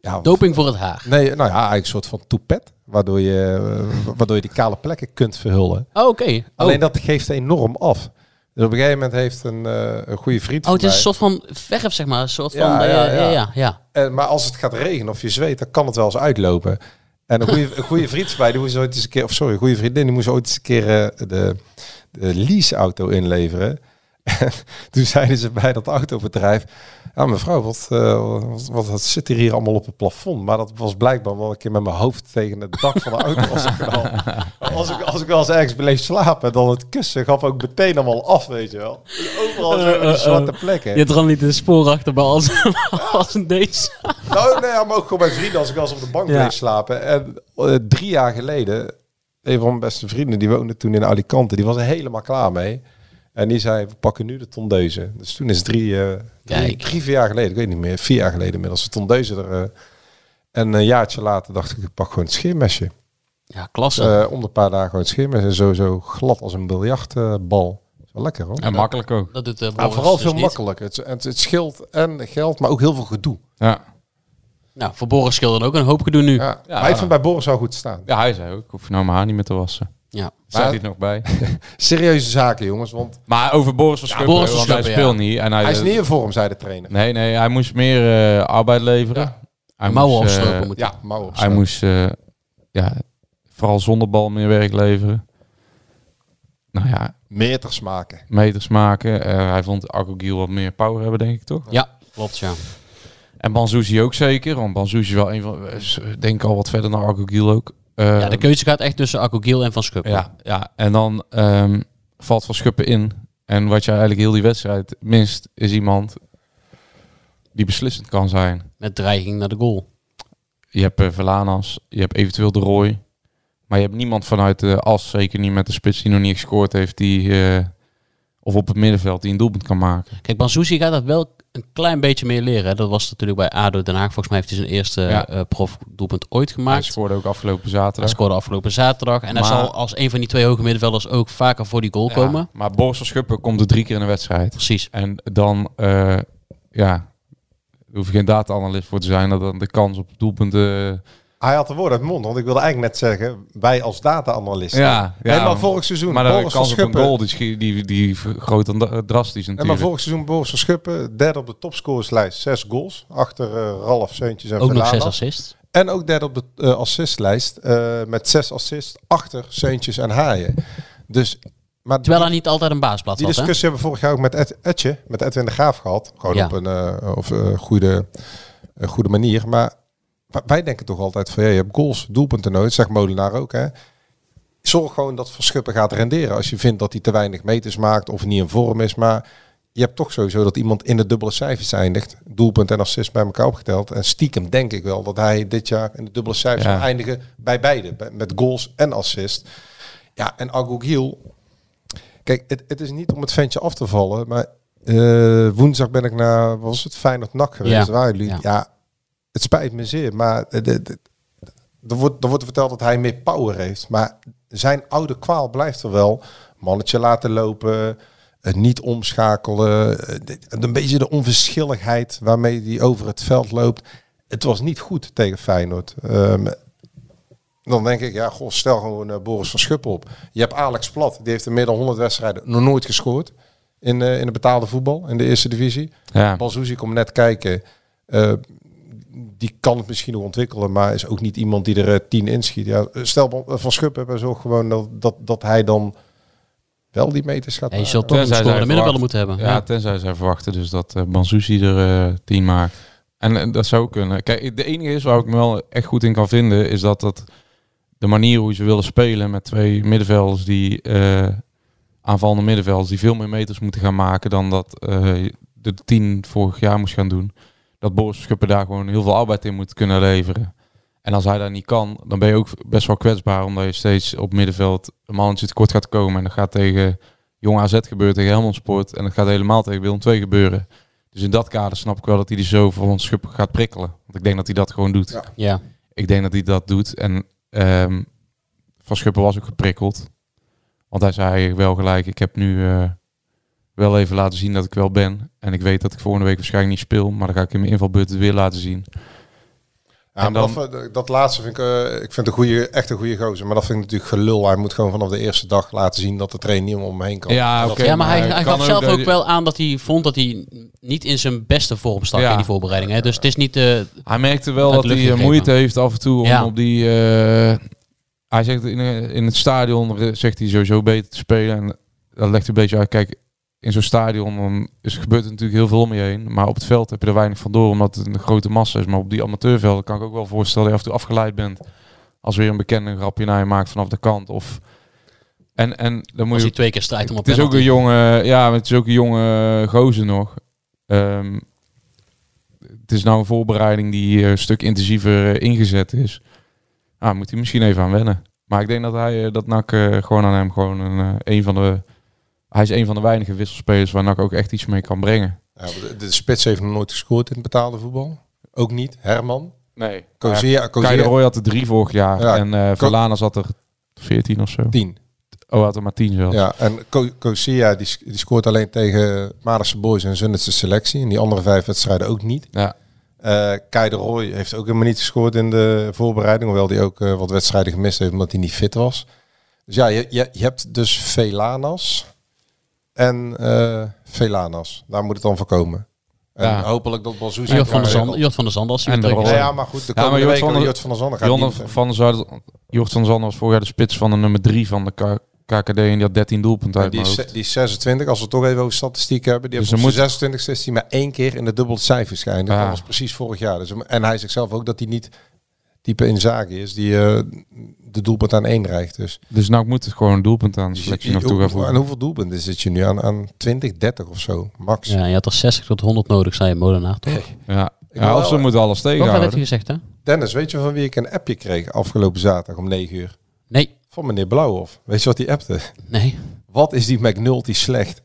S8: Ja, wat-
S6: Doping voor het haar.
S8: Nee, nou ja, eigenlijk een soort van toepet, waardoor je, eh, waardoor je die kale plekken kunt verhullen.
S6: Oh, oké.
S8: Alleen dat geeft enorm af. Dus op een gegeven moment heeft een, eh, een goede vriend
S6: Oh,
S8: van
S6: het is een
S8: mij-
S6: soort van verf, zeg maar. Een soort van...
S8: Ja,
S6: eh,
S8: ja,
S6: ja, ja,
S8: ja.
S6: ja,
S8: En, maar als het gaat regenen of je zweet, dan kan het wel eens uitlopen. En een goede, een goede vriend van mij, die moest ooit eens een keer, of sorry, een goede vriendin, die moest ooit eens een keer eh, de, de leaseauto inleveren. En [LAUGHS] toen zeiden ze bij dat autobedrijf, ja mevrouw, wat, eh, wat, wat, wat zit er hier allemaal op het plafond? Maar dat was blijkbaar wel een keer met mijn hoofd tegen het dak van de auto was geknald. Als ik, als ik wel eens ergens bleef slapen, dan het kussen gaf ook meteen allemaal af, weet je wel. Overal zo die zwarte plekken.
S6: Jadran liet een spoor achter bij als, [LAUGHS] als een deze.
S8: Nou, nee, ja, maar ook gewoon bij vrienden als ik als op de bank
S6: Ja.
S8: bleef slapen. En eh, drie jaar geleden, een van mijn beste vrienden, die woonde toen in Alicante, die was er helemaal klaar mee. En die zei, we pakken nu de tondeuze. Dus toen is drie, eh, drie,
S6: Kijk.
S8: drie, vier jaar geleden, ik weet niet meer, vier jaar geleden inmiddels, de tondeuze er. eh, en een jaartje later dacht ik, ik pak gewoon het scheermesje.
S6: Ja, klasse.
S8: Eh, om de paar dagen gewoon het scheermesje. En sowieso glad als een biljartbal. is wel lekker hoor.
S7: En makkelijk ook.
S6: dat doet eh
S8: Maar
S6: Boris
S8: vooral
S6: dus
S8: veel
S6: niet.
S8: makkelijker. Het, het, het scheelt en geld, maar ook heel veel gedoe.
S7: Ja.
S6: Nou, voor Boris scheelde ook een hoop gedoe nu. Ja.
S8: Ja. maar ik vind bij Boris al goed staan.
S7: ja, hij zei ook, ik hoef nou mijn haar niet meer te wassen. Staat dit nog bij?
S8: Serieuze zaken, jongens. Want
S7: Maar over Boris van Schuppen,
S6: Boris van
S7: want hij
S6: Schuppen,
S7: speelt niet. En hij,
S8: hij is niet in vorm, zei de trainer.
S7: Nee, nee, hij moest meer eh, arbeid leveren. Hij
S6: Mouwen
S7: moest, eh,
S6: afstropen moet hij.
S8: Ja, mouw op.
S7: Hij moest eh, ja, vooral zonder bal meer werk leveren. Nou ja,
S8: meters maken.
S7: meters maken. Eh, hij vond Agogiel wat meer power hebben, denk ik toch?
S6: Ja, klopt, ja.
S7: En Banzuzi ook zeker. Want Banzuzi is wel een van. is, eh, Denk al wat verder naar Agogiel ook. Eh,
S6: ja. De keuze gaat echt tussen Akkogiel en Van Schuppen.
S7: ja, ja, en dan ehm, valt van Schuppen in. En wat je eigenlijk heel die wedstrijd mist, is iemand die beslissend kan zijn.
S6: Met dreiging naar de goal.
S7: Je hebt eh, Velanas, je hebt eventueel de Roy. Maar je hebt niemand vanuit de as, zeker niet met de spits die nog niet gescoord heeft, die, eh, of op het middenveld, die een doelpunt kan maken.
S6: Kijk, Bansuzi gaat dat wel een klein beetje meer leren. hè. Dat was natuurlijk bij ADO Den Haag. Volgens mij heeft hij zijn eerste
S7: Ja.
S6: eh profdoelpunt ooit
S7: Hij
S6: gemaakt.
S7: scoorde ook afgelopen
S6: Hij
S7: zaterdag.
S6: scoorde afgelopen zaterdag. En hij
S7: Maar-
S6: zal als een van die twee hoge middenvelders ook vaker voor die goal
S7: Ja,
S6: komen.
S7: Maar Boris van Schuppen komt er drie keer in een wedstrijd.
S6: Precies.
S7: En dan, eh, ja, er hoef je geen data-analyst voor te zijn, dat dan de kans op doelpunten...
S8: Hij had de woord uit mijn mond, want ik wilde eigenlijk net zeggen, wij als data-analysten.
S7: Ja, ja.
S8: helemaal vorig seizoen,
S7: Maar de
S8: Boris van
S7: kans op een
S8: Schuppen.
S7: goal, die, schi- die, die vergroot dan da- drastisch
S8: En maar
S7: natuurlijk.
S8: vorig seizoen Boris van Schuppen, derde op de topscorerslijst, zes goals. Achter eh, Ralf, Seuntjes en
S6: Ook nog
S8: Verlanas.
S6: zes assists.
S8: En ook derde op de eh, assistlijst, eh, met zes assists achter Seuntjes en Haaien. Dus, maar
S6: Terwijl hij niet altijd een baasplaats
S8: Die
S7: dus
S6: had. Hè?
S8: discussie hebben we vorig jaar ook met Ed, Edje, met Edwin de Graaf gehad. Gewoon
S6: Ja.
S8: op een eh, of, eh, goede, eh, goede manier. Maar wa- wij denken toch altijd van, ja, je hebt goals, doelpunten nodig. Zegt Molenaar ook, hè. Zorg gewoon dat Verschuppen gaat renderen. Als je vindt dat hij te weinig meters maakt of niet in vorm is. Maar je hebt toch sowieso dat iemand in de dubbele cijfers eindigt. Doelpunt en assist bij elkaar opgeteld. En stiekem denk ik wel dat hij dit jaar in de dubbele cijfers
S7: Ja.
S8: zal eindigen bij beide. bij- Met goals en assist. Ja, en Agogiel, Kijk, het, het is niet om het ventje af te vallen, maar eh, woensdag ben ik naar, wat was het, Feyenoord NAC geweest.
S6: Ja.
S8: Daar Waren jullie?
S6: Ja.
S8: Ja. het spijt me zeer, maar eh, de- de- er wordt, er wordt verteld dat hij meer power heeft. Maar zijn oude kwaal blijft er wel. Mannetje laten lopen, het niet omschakelen, eh, dit- een beetje de onverschilligheid waarmee hij over het veld loopt. Het was niet goed tegen Feyenoord. Ehm, dan denk ik, ja, goh, stel gewoon eh, Boris van Schuppen op. Je hebt Alex Plat, die heeft in meer dan 100 wedstrijden nog nooit gescoord. In, eh in de betaalde voetbal, in de eerste divisie.
S7: Ja.
S8: Balzuzi komt net kijken. Eh, die kan het misschien nog ontwikkelen, maar is ook niet iemand die er eh, tien inschiet. Ja, eh, stel Bo- eh, van Schuppen, hebben zorg gewoon dat, dat, dat hij dan wel die meters gaat
S6: Nee, je
S8: maken.
S6: zult toch een
S7: Tenzij zij
S6: scorende middenvelder
S7: verwacht-
S6: moeten
S7: Ja,
S6: hebben.
S7: tenzij zij verwachten dus dat eh Bansuzi er eh, tien maakt. En eh, dat zou kunnen. Kijk, de enige is waar ik me wel echt goed in kan vinden, is dat dat de manier hoe ze willen spelen met twee middenvelders die eh, aanvallende middenvelders die veel meer meters moeten gaan maken dan dat eh, de tien vorig jaar moest gaan doen. Dat Boris Schuppen daar gewoon heel veel arbeid in moet kunnen leveren. En als hij dat niet kan, dan ben je ook best wel kwetsbaar, omdat je steeds op middenveld een mannetje tekort gaat komen. En dat gaat tegen Jong AZ gebeurt tegen Helmond Sport. En dat gaat helemaal tegen Willem II gebeuren. Dus in dat kader snap ik wel dat hij die zo voor ons schip gaat prikkelen. Want ik denk dat hij dat gewoon doet.
S8: Ja.
S6: Ja.
S7: Ik denk dat hij dat doet. En ehm, Van Schuppen was ook geprikkeld. Want hij zei wel gelijk, ik heb nu eh, wel even laten zien dat ik wel ben. En ik weet dat ik volgende week waarschijnlijk niet speel. Maar dan ga ik in mijn invalbeurt het weer laten zien.
S8: Ja,
S7: En
S8: maar
S7: dan-
S8: dat, eh, dat laatste vind ik, eh, ik vind een goede, echt een goede gozer. Maar dat vind ik natuurlijk gelul. Hij moet gewoon vanaf de eerste dag laten zien dat de trainer niet om hem heen kan.
S7: oké.
S6: ja, maar hij, hij gaf zelf ook
S7: wel.
S6: wel aan dat hij vond dat hij niet in zijn beste vorm stak
S7: Ja.
S6: in die voorbereiding. Hè? Dus het is niet... eh,
S7: Hij merkte wel
S6: Uit
S7: dat
S6: de
S7: hij
S6: lucht
S7: eh,
S6: gegrepen.
S7: moeite heeft af en toe om
S6: Ja.
S7: op die... eh, hij zegt in, eh, in het stadion, eh, zegt hij sowieso beter te spelen. En dat legt een beetje uit. Kijk, in zo'n stadion dan is, gebeurt er natuurlijk heel veel om je heen. Maar op het veld heb je er weinig van door, omdat het een grote massa is. Maar op die amateurvelden kan ik ook wel voorstellen dat je af en toe afgeleid bent. Als weer een bekende een grapje naar je maakt vanaf de kant. Of, en, en dan moet
S6: als
S7: je
S6: hij twee keer strijdt om op
S7: het is ook een
S6: penalty.
S7: jonge, ja, maar het is ook een jonge gozer nog. Ehm, het is nou een voorbereiding die eh, een stuk intensiever eh, ingezet is. Ah, moet hij misschien even aan wennen. Maar ik denk dat hij eh, dat NAC eh, gewoon aan hem gewoon een, eh, een van de. Hij is een van de weinige wisselspelers waar NAC ook echt iets mee kan brengen.
S8: Ja, maar de, de spits heeft nog nooit gescoord in het betaalde voetbal. Ook niet. Herman.
S7: Nee.
S8: Kozia,
S7: Kai de
S8: Kozia,
S7: Roy had er drie vorig jaar
S8: Ja.
S7: en eh Verlanas had er 14 of zo.
S8: 10.
S7: Oh, had er maar 10 zelfs.
S8: Ja, en Ko- Kozia die, sc- die scoort alleen tegen Maardense Boys en Zundetse Selectie. En die andere vijf wedstrijden ook niet.
S7: Ja.
S8: Eh Kai de Roy heeft ook helemaal niet gescoord in de voorbereiding. Hoewel die ook eh, wat wedstrijden gemist heeft omdat hij niet fit was. Dus ja, je, je, je hebt dus Velanas en eh, Velanas. Daar moet het dan voor komen. En
S7: Ja.
S8: hopelijk dat Balzoes...
S6: Jort van der Zand- Jort van der Zand als hij
S7: En de
S6: vertrekt.
S7: Roy.
S8: Ja, maar goed, de
S7: Ja, maar
S8: komende
S7: Jort
S8: week
S7: van der-
S8: Jort van der Zanden gaat
S7: Jonne
S8: niet-
S7: van der Zuid, Jort van Zanden was vorig jaar de spits van de nummer 3 van de K- KKD en die had 13 doelpunten uit
S8: Die,
S7: mijn
S8: is,
S7: hoofd.
S8: die is 26, als we het toch even over statistiek hebben. Die
S7: Dus
S8: heeft op
S7: dan Ah.
S8: zijn 26 is hij maar één keer in de dubbele cijfers geëindigd.
S7: Ja.
S8: Dat was precies vorig jaar. Dus, en hij zegt zelf ook dat hij niet type Inzaghi is die eh, de doelpunt aan één reikt. Dus,
S7: Dus nou moet het gewoon een doelpunt aan de
S8: Dus
S7: selectie
S8: je-
S7: nog toe
S8: hoe-
S7: gaan
S8: aan
S7: voegen.
S8: hoeveel doelpunten zit je nu? Aan, aan 20, 30 of zo, max.
S6: Ja, je had er 60 tot 100 nodig, zei Molenaar toch?
S7: Ja,
S8: Ik
S7: Ja,
S8: wil
S7: of ze
S8: wel-
S7: moeten alles
S6: Wat heeft
S7: tegenhouden.
S6: hij gezegd, hè?
S8: Dennis, weet je van wie ik een appje kreeg afgelopen zaterdag om 9 uur?
S6: Nee,
S8: Van meneer Blauwhof. Weet je wat die appte?
S6: nee. [LAUGHS]
S8: Wat is die McNulty slecht?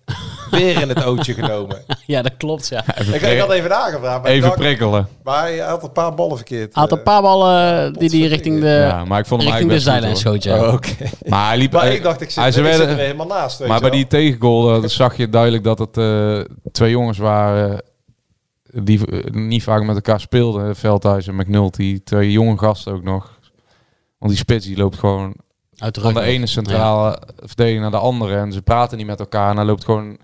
S8: Weer in het ootje genomen.
S6: ja, dat klopt, ja. Hij
S8: Ik, ik had even nagevraagd, maar, ik
S7: Even
S8: dacht-
S7: prikkelen.
S8: maar hij had een paar ballen verkeerd.
S6: had
S8: eh.
S6: een paar ballen die die richting de,
S7: Ja, maar ik vond hem
S6: richting de
S7: eigenlijk best
S6: zijlijn
S7: goed, hoor.
S6: schoot, ja.
S8: Oh, Oké.
S7: Maar hij liep...
S8: Maar
S7: hij-
S8: ik dacht, ik zit,
S7: hij- ze
S8: ik zit
S7: werden-
S8: er weer helemaal naast. weet
S7: Maar
S8: je
S7: bij
S8: wel.
S7: die tegengoal eh, zag je duidelijk dat het eh, twee jongens waren die eh, niet vaak met elkaar speelden. Veldhuis en McNulty. Twee jonge gasten ook nog. Want die spits die loopt gewoon
S6: Uit de
S7: van de
S6: rug.
S7: ene centrale verdediger naar de andere. En ze praten niet met elkaar. En hij loopt gewoon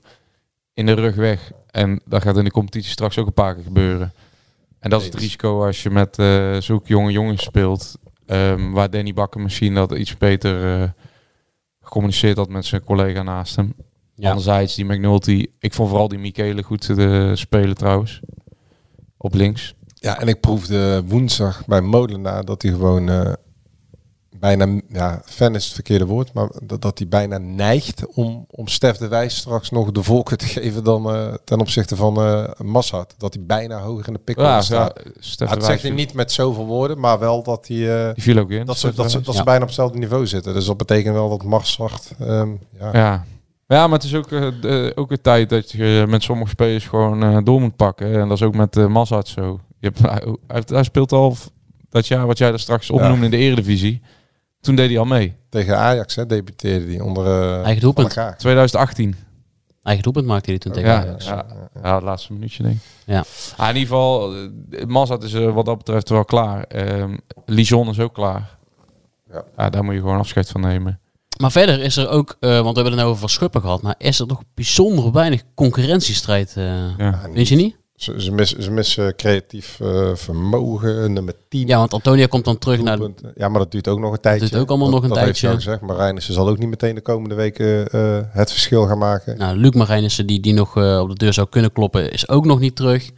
S7: in de rug weg. En dat gaat in de competitie straks ook een paar keer gebeuren. En dat is het
S8: Eens.
S7: risico als je met eh zulke jonge jongens speelt. ehm, waar Danny Bakker misschien dat iets beter eh, gecommuniceerd had met zijn collega naast hem.
S6: Ja.
S7: Anderzijds, die McNulty. Ik vond vooral die Michele goed te eh, spelen trouwens. Op links.
S8: Ja, en ik proefde woensdag bij Molenaar dat hij gewoon eh, bijna, ja, fan is het verkeerde woord, maar dat, dat hij bijna neigt om, om Stef de Wijs straks nog de voorkeur te geven dan eh, ten opzichte van eh Massad. Dat hij bijna hoger in de pick
S7: Ja, ja,
S8: staat.
S7: Stef
S8: Ja,
S7: de
S8: dat
S7: Wijs
S8: zegt hij
S7: viel-
S8: niet met zoveel woorden, maar wel dat hij... eh,
S7: Die viel ook in.
S8: dat ze,
S7: Stef de
S8: dat, ze,
S7: Wijs.
S8: dat ze
S6: Ja.
S8: bijna op hetzelfde niveau zitten. Dus dat betekent wel dat Massad... ehm ja.
S7: Ja. Ja, maar het is ook, eh, de- ook een tijd dat je met sommige spelers gewoon eh, door moet pakken. En dat is ook met eh Mazat zo. Je hebt, hij, hij heeft- hij speelt al v- dat jaar wat jij daar straks opnoemde in de Eredivisie. Toen deed hij al mee.
S8: Tegen Ajax hè, debuteerde hij onder... eh,
S6: Eigen doelpunt.
S8: Van elkaar.
S7: 2018.
S6: Eigen doelpunt maakte hij toen tegen.
S7: Ja, ja,
S6: Ajax.
S7: ja, het laatste minuutje denk ik.
S6: Ja.
S7: Ah, in ieder geval, eh, Mazat is eh, wat dat betreft wel klaar. Ehm Lijon is ook klaar.
S8: Ja.
S7: Ja. daar moet je gewoon afscheid van nemen.
S6: Maar verder is er ook, eh, want we hebben het nou over Van Schuppen gehad, maar is er nog bijzonder weinig concurrentiestrijd. eh
S7: Ja.
S6: Vind je niet?
S8: Ze, ze, missen, ze missen creatief eh, vermogen, nummer 10.
S6: Ja, want Antonia komt dan terug naar...
S8: doelpunten. ja, maar dat duurt ook nog een tijdje.
S6: duurt ook allemaal
S8: dat,
S6: nog een
S8: dat heeft hij al
S6: tijdje.
S8: gezegd. Maar Reinissen zal ook niet meteen de komende weken eh, het verschil gaan maken.
S6: Nou, Luc Marijnissen, die, die nog eh, op de deur zou kunnen kloppen, is ook nog niet terug.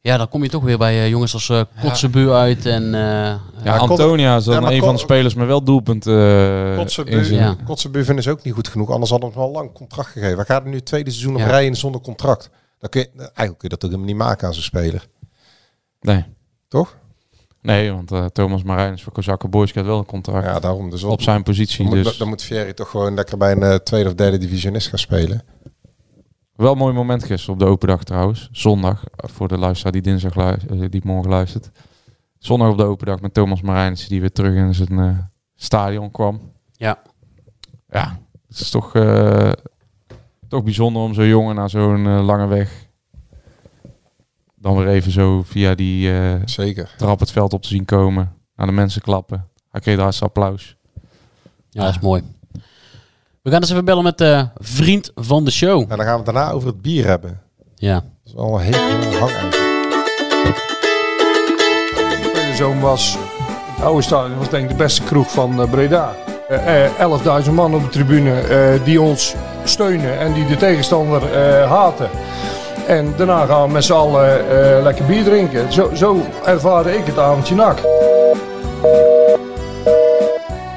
S6: Ja, dan kom je toch weer bij eh, jongens als eh Kotzebu uit en... eh,
S7: Ja,
S8: Maar Kot-
S7: Antonia is
S8: Ja,
S7: dan
S8: maar
S7: een
S8: Kot-
S7: van de spelers, maar wel doelpunt eh in
S8: Kotzebu
S7: zijn-
S6: Ja.
S8: Kotzebu is ook niet goed genoeg. Anders hadden we hem al lang contract gegeven. Hij gaat er nu het tweede seizoen op
S6: Ja.
S8: rijden zonder contract. Dan kun je, nou, eigenlijk kun je dat ook helemaal niet maken aan zo'n speler.
S7: Nee.
S8: Toch?
S7: Nee, want eh, Thomas Marijn is voor Kozakken Boys krijgt wel een contract
S8: Ja, daarom. Dus wat-
S7: op zijn positie.
S8: dan, moet,
S7: Dus
S8: dan moet Thierry toch gewoon lekker bij een eh, tweede of derde divisionist gaan spelen.
S7: wel een mooi moment gisteren op de open dag trouwens. Zondag, eh, voor de luisteraar die dinsdag luis- eh, die morgen luistert. Zondag op de open dag met Thomas Marijn die weer terug in zijn eh, stadion kwam.
S6: Ja.
S7: Ja, het is toch, eh, toch bijzonder om zo'n jongen na zo'n eh, lange weg dan weer even zo via die eh,
S8: Zeker.
S7: trap het veld op te zien komen. Aan de mensen klappen. Hij kreeg daar zijn applaus.
S6: ja, dat is mooi. We gaan eens even bellen met eh, vriend van de show.
S8: En dan gaan we het daarna over het bier hebben.
S6: Ja.
S8: Dat is wel een hele hang
S9: de zoon was. Het oude stadion was denk ik de beste kroeg van eh, Breda. Eh, eh, 11.000 man op de tribune eh, die ons steunen en die de tegenstander eh, haten. En daarna gaan we met z'n allen eh, lekker bier drinken. Zo, zo ervaarde ik het avondje nak.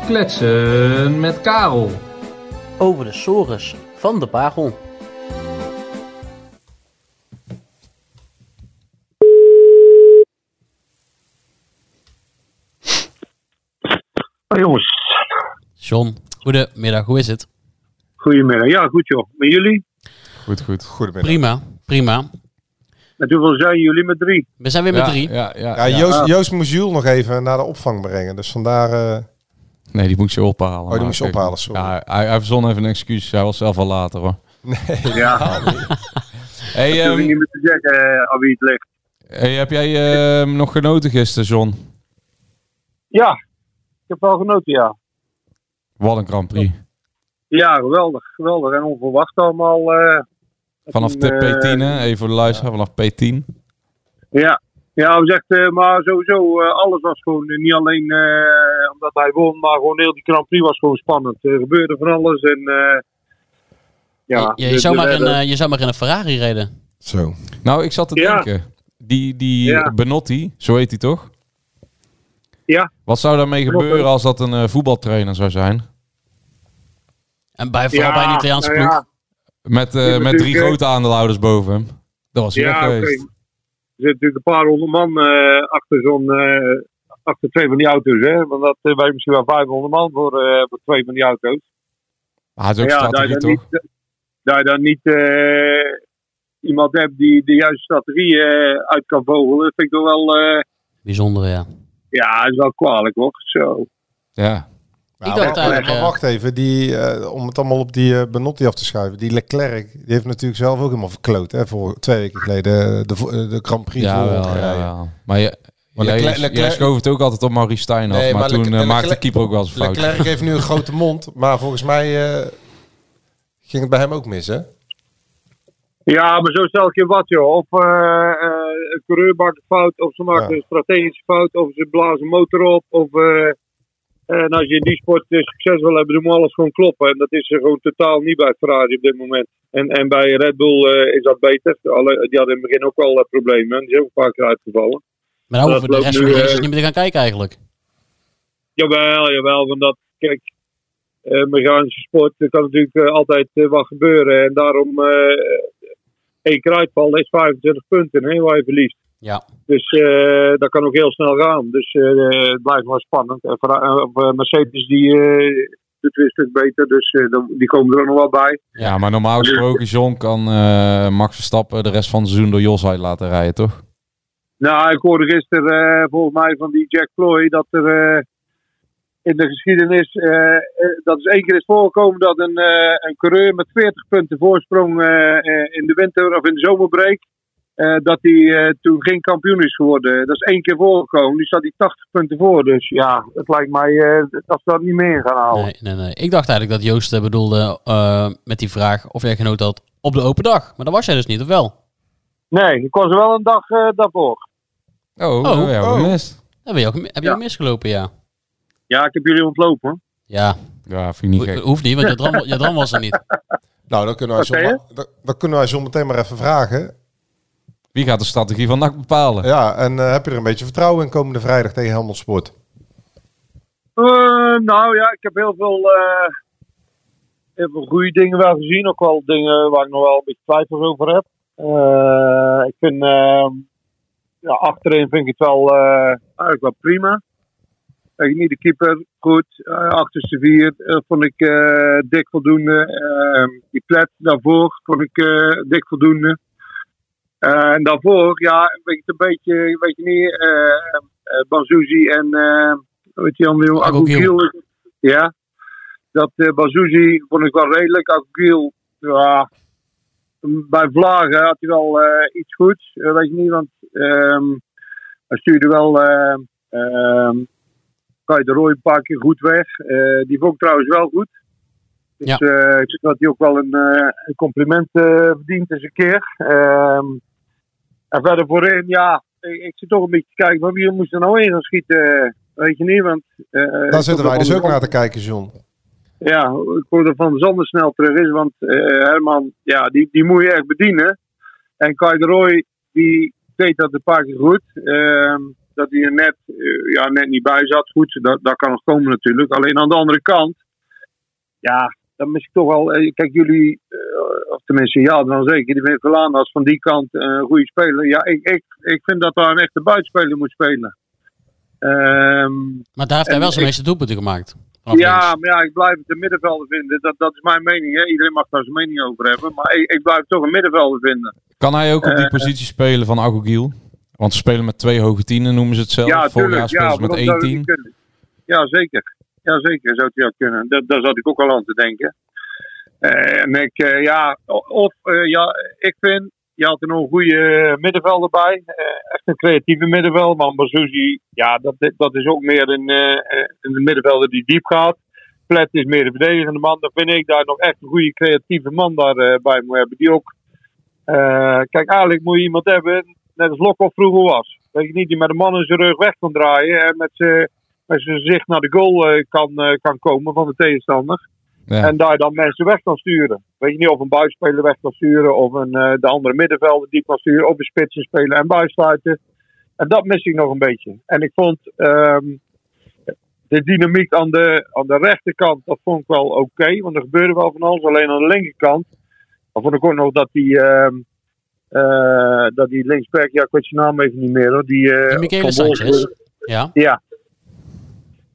S10: Kletsen met Karel.
S11: Over de sores van de Bagel.
S10: jongens,
S6: John, goedemiddag, hoe is het?
S10: goedemiddag. Ja, goed joh. Met jullie?
S7: Goed, goed.
S8: Goedemiddag.
S6: Prima, prima.
S10: Met hoeveel zijn jullie met drie?
S6: We zijn weer met drie.
S7: Ja, ja,
S8: Ja,
S7: ja.
S8: Joost, Joost moest Jules nog even naar de opvang brengen. Dus vandaar... eh,
S7: Nee, die moest je ophalen.
S8: Oh, die
S7: Maar
S8: moest je
S7: kijk,
S8: ophalen, sorry.
S7: Ja, hij, hij verzon even een excuus. Hij was zelf al later hoor.
S10: [LAUGHS] Ja,
S7: [LAUGHS] Hey,
S10: dat hoef je
S7: ehm,
S10: niet meer te zeggen eh, aan wie het ligt.
S7: hey, heb jij ehm, nog genoten gisteren, John?
S10: Ja, ik heb wel genoten, ja.
S7: Wat een Grand Prix.
S10: Ja, geweldig, geweldig. En onverwacht allemaal. eh,
S7: Vanaf de
S10: eh,
S7: P10, hè? even voor de luisteraar, vanaf P10.
S10: Ja, ja we zegt, eh, maar sowieso, eh, alles was gewoon eh, niet alleen eh, omdat hij won, maar gewoon heel die Grand Prix was gewoon spannend. Er gebeurde van alles en eh, ja.
S6: je, je,
S10: dus
S6: zou
S10: er
S6: maar in,
S10: werden-
S6: eh, je zou maar in een Ferrari reden.
S8: Zo.
S7: Nou, ik zat te
S10: Ja.
S7: denken. Die, die
S10: Ja.
S7: Benotti, zo heet hij toch?
S10: Ja.
S7: Wat zou daarmee
S10: Benotti.
S7: gebeuren als dat een eh, voetbaltrainer zou zijn?
S6: En bij, vooral bij een Italiaanse
S10: nou
S6: ploeg.
S10: ja,
S7: Met, eh,
S10: Ja,
S7: met drie
S10: natuurlijk, hè.
S7: grote aandeelhouders boven hem. Dat was hij
S10: Ja,
S7: weg
S10: oké.
S7: geweest.
S10: Er zitten natuurlijk een paar honderd man eh, achter, zo'n, eh, achter twee van die auto's. Hè? Want dat eh, wij misschien wel 500 man voor, eh, voor twee van die auto's.
S7: Maar het is ook
S10: ja, daar je
S7: strategie,
S10: dan
S7: toch?
S10: niet, daar je Nou, dan niet eh, iemand hebt die de juiste strategie eh, uit kan vogelen, vind ik toch wel, eh,
S6: Bijzonder, ja.
S10: ja, is wel kwalijk hoor. Zo.
S7: Ja.
S8: Nou, wacht, maar wacht even, die, eh, om het allemaal op die eh, Benotti af te schuiven. Die Leclerc, die heeft natuurlijk zelf ook helemaal verkloot. Hè, voor twee weken geleden eh, de, vo- eh, de Grand Prix
S7: Ja,
S8: voor
S7: wel,
S8: Hongarije.
S7: ja, wel. Maar je,
S8: Maar
S7: jij,
S8: Leclerc-
S7: jij
S8: Leclerc-
S7: schoof het ook altijd op Maurice Stijn af,
S8: Nee,
S7: maar, toen
S8: Leclerc-
S7: eh, maakte
S8: Leclerc-
S7: keeper ook wel eens een fout.
S8: Leclerc heeft nu een grote mond, maar volgens mij eh, ging het bij hem ook mis, hè?
S10: Ja, maar zo stel ik je wat, joh. Of eh eh, een coureur maakt een fout, of ze maken een strategische fout, of ze blazen motor op. Of, eh, en als je in die sport eh, succes wil hebben, dan moet alles gewoon kloppen. En dat is er gewoon totaal niet bij Ferrari op dit moment. En, en bij Red Bull eh, is dat beter. Alle, die hadden in het begin ook wel eh, problemen. Die is ook vaak uitgevallen.
S6: Maar daar
S10: Dat
S6: hoeven we de
S10: loopt
S6: rest van de
S10: nu,
S6: races
S10: eh,
S6: niet meer te gaan kijken eigenlijk.
S10: Jawel, jawel, want dat, kijk, eh mechanische sport, er kan natuurlijk eh, altijd eh, wat gebeuren. En daarom, eh één kruidval is 25 punten hè, waar je verliest.
S6: Ja.
S10: Dus eh, dat kan ook heel snel gaan. Dus eh, het blijft maar spannend. En Ferra- eh, of, eh, Mercedes die, eh, doet weer een stuk beter, dus eh, dan- die komen er ook nog wel bij.
S7: Ja, maar normaal gesproken, John kan eh, Max Verstappen de rest van het seizoen door Jos uit laten rijden, toch?
S10: Nou, ik hoorde gisteren eh, volgens mij van die Jack Ploy dat er eh, in de geschiedenis, eh, eh, dat is één keer is voorgekomen dat een, eh, een coureur met 40 punten voorsprong eh, eh, in de winter of in de zomerbreak, eh, dat hij eh, toen geen kampioen is geworden. Dat is één keer voorgekomen, nu staat hij 80 punten voor. Dus ja, het lijkt mij eh, dat ze dat niet meer in gaan houden.
S6: Nee, nee, nee. Ik dacht eigenlijk dat Joost eh, bedoelde eh, met die vraag of jij genoten had op de open dag. Maar dat was jij dus niet, of wel?
S10: Nee, ik was er wel een dag eh, daarvoor.
S7: Oh,
S6: dat hebben we jou
S7: gemist.
S6: Heb je, ook, heb je ook misgelopen, ja?
S10: Ja, ik heb jullie ontlopen. hoor.
S6: Ja.
S7: Ja, vind ik niet
S6: gek. Hoeft niet, want
S10: [LAUGHS]
S6: je dram, je dram was er niet.
S8: Nou, dan kunnen wij,
S6: Oké,
S8: zomaar- dan, dan kunnen wij zometeen maar even vragen.
S7: Wie gaat de strategie van NAC bepalen?
S8: Ja, en eh, heb je er een beetje vertrouwen in komende vrijdag tegen Helmond Sport?
S10: Eh, nou ja, ik heb heel veel, eh, heel veel goede dingen wel gezien. Ook wel dingen waar ik nog wel een beetje twijfels over heb. Eh, ik vind, eh, ja, achterin vind ik het wel, eh, eigenlijk wel prima. Kijk, niet de keeper, goed. Eh, achterste vier eh, vond ik eh, dik voldoende. Eh, die plet daarvoor vond ik eh, dik voldoende. Eh, en daarvoor, ja, weet je het een beetje, weet je niet, eh eh, Banzuzi en, eh weet je, Jan Agogiel. Ja, dat eh Banzuzi vond ik wel redelijk. Agogiel, ja, bij Vlagen had hij wel eh, iets goeds, eh, weet je niet, want ehm, hij stuurde wel eh ehm, Kai de Roy een paar keer goed weg. Eh, die vond ik trouwens wel goed.
S6: Ja.
S10: Dus eh, ik vind dat hij ook wel een, eh, een compliment eh, verdient eens een keer. Ehm, en verder voorin, ja, ik, ik zit toch een beetje te kijken van wie moest er nou in gaan schieten. Weet je niet, want... eh,
S8: Daar zitten wij dus ook
S10: van-
S8: naar te kijken, John.
S10: ja, ik hoor dat Van der Zander snel terug is. Want eh, Herman, ja, die, die moet je echt bedienen. En Kai de Roy, die deed dat een paar keer goed. Ehm, dat hij er net, eh, ja, net niet bij zat. Goed, dat, dat kan nog komen natuurlijk. Alleen aan de andere kant, ja, dan mis ik toch wel... eh, kijk, jullie, eh, of tenminste, ja, dan zeker. Die Vincelaan als van die kant eh, een goede speler. Ja, ik, ik, ik vind dat daar een echte buitenspeler moet spelen. Ehm
S6: Maar daar heeft hij
S10: En
S6: wel zijn
S10: ik-
S6: meeste doelpunten gemaakt.
S10: ja, maar ja, ik blijf het een middenvelder vinden. Dat, dat is mijn mening. Hè. Iedereen mag daar zijn mening over hebben. Maar ik, ik blijf het toch een middenvelder vinden.
S7: Kan hij ook op die
S10: Eh,
S7: positie spelen van Agogiel? Want ze spelen met twee hoge tienen, noemen ze het zelf.
S10: ja,
S7: Vorig
S10: tuurlijk.
S7: jaar speelden
S10: Ja,
S7: ze met
S10: waarom
S7: één
S10: zou dat
S7: tien.
S10: niet kunnen? Ja, zeker. Ja, zeker zou het ja kunnen. Dat, daar zat ik ook al aan te denken. Eh, en ik, eh, ja, o- of eh, ja, ik vind, je had er nog een goede eh, middenvelder bij. Eh, echt een creatieve middenvelder. Maar Mazuzi, ja, dat, dat is ook meer een, eh, een middenvelder die diep gaat. Plet is meer de verdedigende man. Dan vind ik daar nog echt een goede creatieve man daar, eh, bij moet hebben. Die ook eh, kijk, eigenlijk moet je iemand hebben, net als Lokhoff vroeger was. Weet je niet, die met een man in zijn rug weg kan draaien en met zijn met zijn gezicht naar de goal eh, kan, eh, kan komen van de tegenstander.
S7: Ja.
S10: En daar dan mensen weg kan sturen. Weet je niet, of een buitenspeler weg kan sturen, of een, eh, de andere middenvelder die kan sturen, of een spitsen spelen en buitsluiten. En dat mis ik nog een beetje. En ik vond ehm, de dynamiek aan de, aan de rechterkant, dat vond ik wel oké, want er gebeurde wel van alles. Alleen aan de linkerkant, dan vond ik ook nog dat die, ehm, eh, eh, dat die linksback, ja, ik weet zijn naam even niet meer hoor. Die, eh,
S6: Die Michele
S10: van
S6: Sanchez.
S10: Wolfsburg.
S6: Ja.
S10: Ja.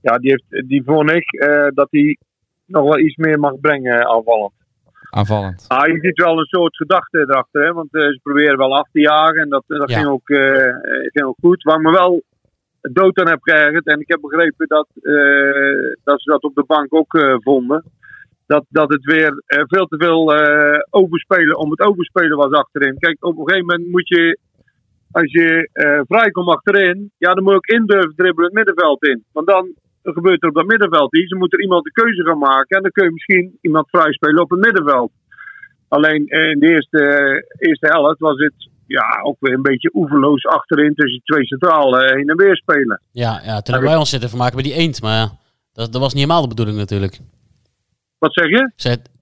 S10: Ja, die, heeft, die vond ik eh, dat hij nog wel iets meer mag brengen eh, aanvallend.
S7: Aanvallend.
S10: Ah, je ziet wel een soort gedachte erachter, hè? want eh, ze proberen wel af te jagen en dat, dat
S7: Ja.
S10: ging, ook, eh, eh, ging ook goed. Waar ik me wel dood aan heb geërgerd, en ik heb begrepen dat, eh, dat ze dat op de bank ook eh, vonden, dat, dat het weer eh, veel te veel eh, overspelen om het overspelen was achterin. Kijk, op een gegeven moment moet je, als je eh, vrijkomt achterin, ja, dan moet je ook in durven dribbelen het middenveld in. Want dan gebeurt er op dat middenveld iets, dan moet er iemand de keuze gaan maken en dan kun je misschien iemand vrijspelen op het middenveld. Alleen eh, in de eerste, eh, eerste helft was het ja, ook weer een beetje oeverloos achterin tussen twee centralen eh, heen en weer spelen.
S6: Ja, ja, toen hebben wij ons zitten vermaken bij die eend. Maar ja, dat, dat was niet helemaal de bedoeling natuurlijk.
S10: Wat zeg je?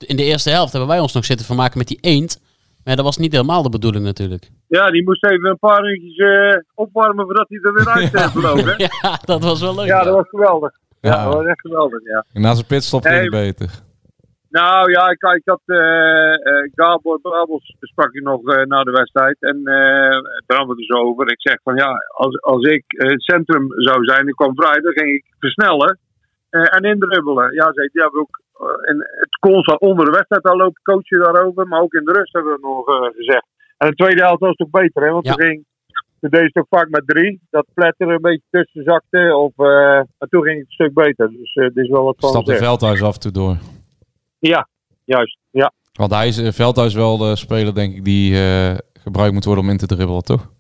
S6: in de eerste helft hebben wij ons nog zitten vermaken met die eend. Maar dat was niet helemaal de bedoeling natuurlijk. [LAUGHS]
S10: Ja, die moest even een paar uurtjes eh, opwarmen voordat hij er weer uit eh, vloog. hè?
S6: Ja, dat was wel leuk.
S10: Ja, dat was geweldig. Ja,
S7: Ja.
S10: dat was echt geweldig, ja.
S7: En na zijn pitstop ging het
S10: Nee.
S7: beter.
S10: Nou ja, ik, ik had eh eh, Gabor Babels sprak ik nog eh, na de wedstrijd. En eh daar hadden we het dus over. Ik zeg van ja, als, als ik eh, het centrum zou zijn, ik kwam vrij, dan ging ik versnellen eh, en indrubbelen. Ja, zei die hebben we ook eh, in het constant onder de wedstrijd al lopen coachen daarover. Maar ook in de rust hebben we nog eh, gezegd. En de tweede helft was toch beter, hè? Want toen ging toen deed ze toch vaak met drie. Dat pletter een beetje tussen zakte. Of, eh, maar toen ging het een stuk beter. Dus eh dit is wel wat van
S7: Stapte
S10: gezegd.
S7: Veldhuis af en toe door.
S10: Ja, juist. Ja.
S7: Want hij is eh, Veldhuis wel de speler, denk ik, die eh, gebruikt moet worden om in te dribbelen, toch?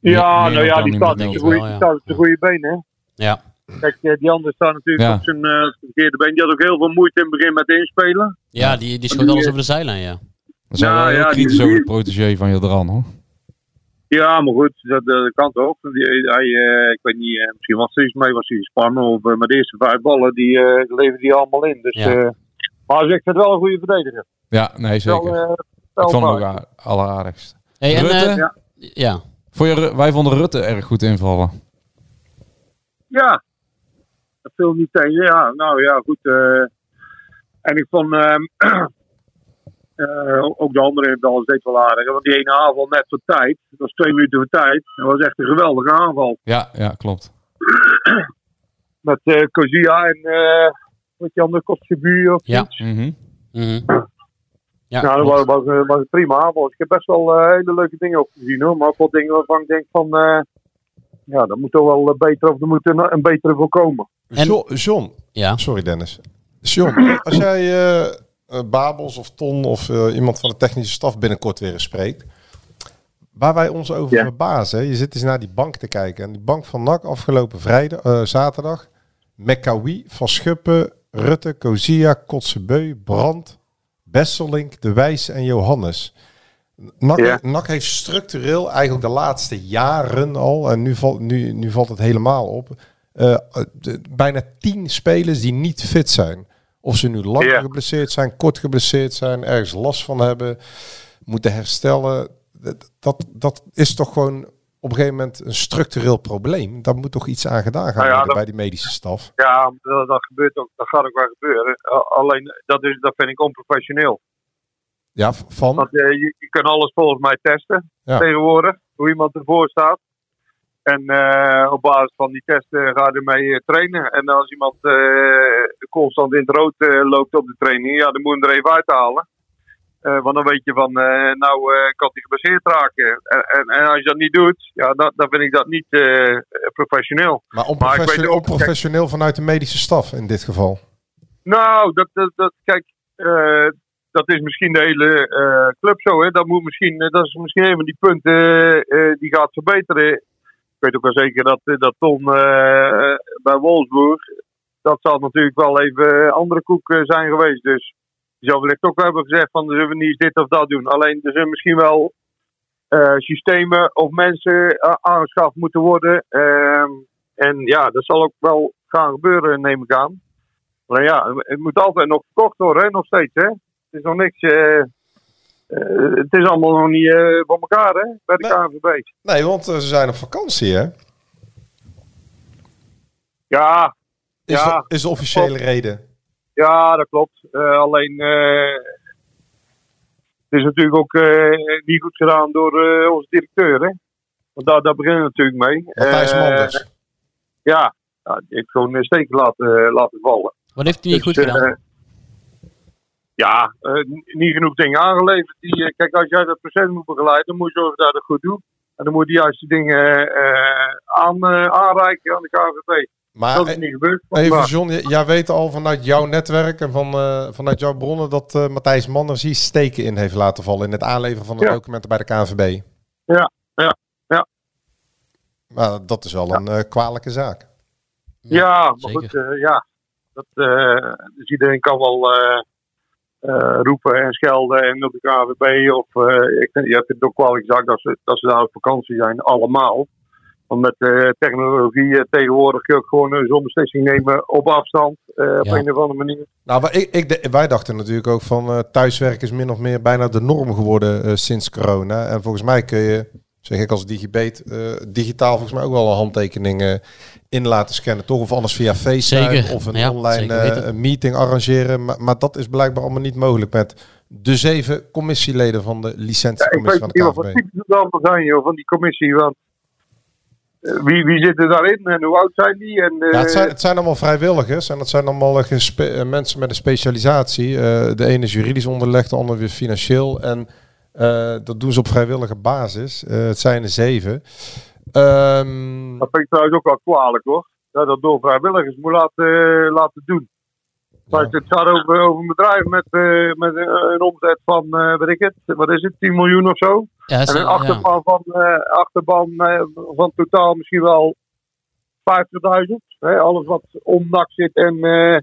S10: Ja,
S7: Meer- meer
S10: nou
S7: dan
S10: ja, die
S7: niet
S10: staat,
S7: met
S10: op de
S7: nul.
S10: goede,
S7: Wel,
S10: die
S7: ja.
S10: staat op de goede been, hè?
S6: Ja.
S10: Kijk, eh, die andere staat natuurlijk
S6: Ja.
S10: op zijn eh, verkeerde been. Die had ook heel veel moeite in het begin met inspelen.
S6: Ja, die, die schoot
S10: eh,
S6: alles over de zijlijn, ja.
S7: Dan zijn we
S10: Nou,
S7: wel heel
S10: ja,
S7: kritisch
S10: die-
S7: over de protégé van Jadran, hoor.
S10: Ja, maar goed, dat, eh, dat kan toch? Die, hij, eh, ik weet niet, eh, misschien was er iets mee, was hij gespannen. Of, eh, maar de eerste vijf ballen, die eh leverde hij allemaal in. Dus, eh, maar hij zegt het wel een goede verdediger.
S7: Ja, nee, zeker.
S10: Wel, eh,
S7: ik vond hem ook
S10: spelbaar.
S7: a- alleraardigst.
S6: Hey, en,
S7: Rutte?
S6: eh,
S10: Ja.
S6: ja.
S7: Vond je Ru- wij vonden Rutte erg goed invallen.
S10: Ja, dat viel niet tegen. Ja, nou ja, goed. eh, en ik vond ehm, [CLEARS THROAT] eh, ook de andere heeft alles deed wel aardig. hè, Want die ene aanval net voor tijd, dat was twee minuten voor tijd. Dat was echt een geweldige aanval.
S7: Ja, ja klopt.
S10: Met eh Kozia en eh wat die andere Kotzebu of
S6: Ja.
S10: iets.
S7: Mhm.
S6: Ja,
S10: nou, dat
S6: klopt.
S10: was, was, een- was een prima aanval. Ik heb best wel eh, hele leuke dingen ook gezien hoor. Maar ook wel dingen waarvan ik denk van... eh, ja, dat moet toch wel eh, beter of er moet een, een betere voorkomen.
S8: Jo- John,
S6: ja.
S8: sorry Dennis. John, als jij eh, eh, Babels of Ton of eh, iemand van de technische staf binnenkort weer eens spreekt. Waar wij ons over verbazen, hè, je zit eens naar die bank te kijken. En die bank van NAC afgelopen vrijdag, eh, zaterdag. Mekawi, Van Schuppen, Rutte, Kozia, Kotsebeu, Brand, Besselink, De Wijs en Johannes. NAC,
S10: Ja.
S8: NAC heeft structureel eigenlijk de laatste jaren al, en nu valt, nu, nu valt het helemaal op, eh, de- bijna tien spelers die niet fit zijn. Of ze nu lang
S10: Ja.
S8: geblesseerd zijn, kort geblesseerd zijn, ergens last van hebben, moeten herstellen. Dat, dat, dat is toch gewoon op een gegeven moment een structureel probleem. Daar moet toch iets aan gedaan gaan
S10: Nou ja,
S8: worden
S10: dat-
S8: bij die medische staf.
S10: Ja, dat, dat gebeurt ook. Dat gaat ook wel gebeuren. A- alleen, dat, is, dat vind ik onprofessioneel.
S8: Ja, v- van.
S10: Want eh, je, je kan alles volgens mij testen
S8: Ja.
S10: tegenwoordig. Hoe iemand ervoor staat. En eh, op basis van die testen ga je ermee eh, trainen. En als iemand eh, constant in het rood eh, loopt op de training, ja, dan moet je hem er even uithalen. Eh, want dan weet je van, eh, nou eh, kan hij gebaseerd raken. En, en, en als je dat niet doet, ja, dan, dan vind ik dat niet eh, professioneel.
S8: Maar
S10: ik weet
S8: onprofessioneel,
S10: ook- kijk,
S8: onprofessioneel vanuit de medische staf in dit geval.
S10: Nou, dat, dat, dat kijk, eh, dat is misschien de hele eh, club zo. Hè? Dat, moet misschien, eh, dat is misschien een van die punten eh, eh, die gaat verbeteren. Ik weet ook wel zeker dat, eh, dat Ton eh, eh, bij Wolfsburg, dat zal natuurlijk wel even eh, andere koek eh, zijn geweest. Dus je zou wellicht ook wel hebben gezegd van, zullen we niet eens dit of dat doen. Alleen, er zijn misschien wel eh, systemen of mensen eh, aangeschaft moeten worden. Ehm, en ja, dat zal ook wel gaan gebeuren, neem ik aan. Maar ja, het moet altijd nog verkocht worden, hè, nog steeds. Hè? Het is nog niks. eh, eh, het is allemaal nog niet eh, voor elkaar, hè, bij de KNVB.
S8: Nee, want eh, ze zijn op vakantie, hè?
S10: Ja,
S8: Is,
S10: ja.
S8: de, is de officiële
S10: Klopt.
S8: reden.
S10: Ja, dat klopt. Eh, alleen, eh, Het is natuurlijk ook eh, niet goed gedaan door eh, onze directeur. Hè? Want daar, daar beginnen we natuurlijk mee.
S8: Matthijs
S10: Eh,
S8: Manders.
S10: Ja, ja, die heeft gewoon een steek laten, laten vallen.
S6: Wat heeft hij niet goed
S10: Dus,
S6: gedaan?
S10: eh, ja, eh, n- niet genoeg dingen aangeleverd. Die, eh, kijk, als jij dat proces moet begeleiden, dan moet je zorgen dat je dat goed doet. En dan moet je de juiste dingen eh, aan, eh, aanreiken aan de KVP.
S8: Maar, e-
S10: dat is niet gebeurd.
S8: Ah, eh, Even,
S10: Maar-
S8: John, j- jij weet al vanuit jouw netwerk en van, eh, vanuit jouw bronnen dat eh, Matthijs Manders hier steken in heeft laten vallen in het aanleveren van de
S10: Ja.
S8: documenten bij de KNVB.
S10: Ja, ja, ja.
S8: Maar dat is wel een eh, kwalijke zaak.
S10: Ja, maar goed, eh, ja. Dat, eh, dus iedereen kan wel eh, eh, roepen en schelden en op de KVB. Of eh, ik, vind- je hebt het ook wel gezegd dat ze, dat ze daar op vakantie zijn, allemaal. Want met eh, technologie eh, tegenwoordig kun je ook gewoon een zo'n beslissing nemen op afstand. eh, Op
S8: Ja.
S10: een of andere manier.
S8: Nou, maar ik, ik, de- wij dachten natuurlijk ook van eh, thuiswerk is min of meer bijna de norm geworden eh, sinds corona. En volgens mij kun je, zeg ik als digibet, eh, digitaal volgens mij ook wel een handtekening eh, in laten scannen, toch? Of anders via FaceTime
S6: Zeker,
S8: of een
S6: ja,
S8: online
S6: zeker
S8: eh,
S6: weten.
S8: een meeting arrangeren. Maar, maar dat is blijkbaar allemaal niet mogelijk met de zeven commissieleden van de
S10: Ik weet
S8: licentiecommissie
S10: niet
S8: van de
S10: wat voor
S8: KVB.
S10: types het allemaal zijn joh, van die commissie. Want eh, wie, wie zit er daarin en hoe oud zijn die? En, eh,
S8: Ja, het, zijn, het zijn allemaal vrijwilligers en dat zijn allemaal eh, gespe- eh, mensen met een specialisatie. Eh, de ene is juridisch onderlegd, de ander weer financieel. En eh, dat doen ze op vrijwillige basis. Eh, het zijn er zeven. Ehm,
S10: Dat vind ik trouwens ook wel kwalijk hoor. Dat dat door vrijwilligers moet laten, eh, laten doen. Maar het gaat over, over een bedrijf met, eh, met een, een omzet van, eh weet ik het, wat is het, 10 miljoen of zo.
S6: Ja,
S10: en
S6: ze-
S10: een achterban, van, eh, achterban eh, van totaal misschien wel 50.000. hè, Alles wat om NAC zit en eh,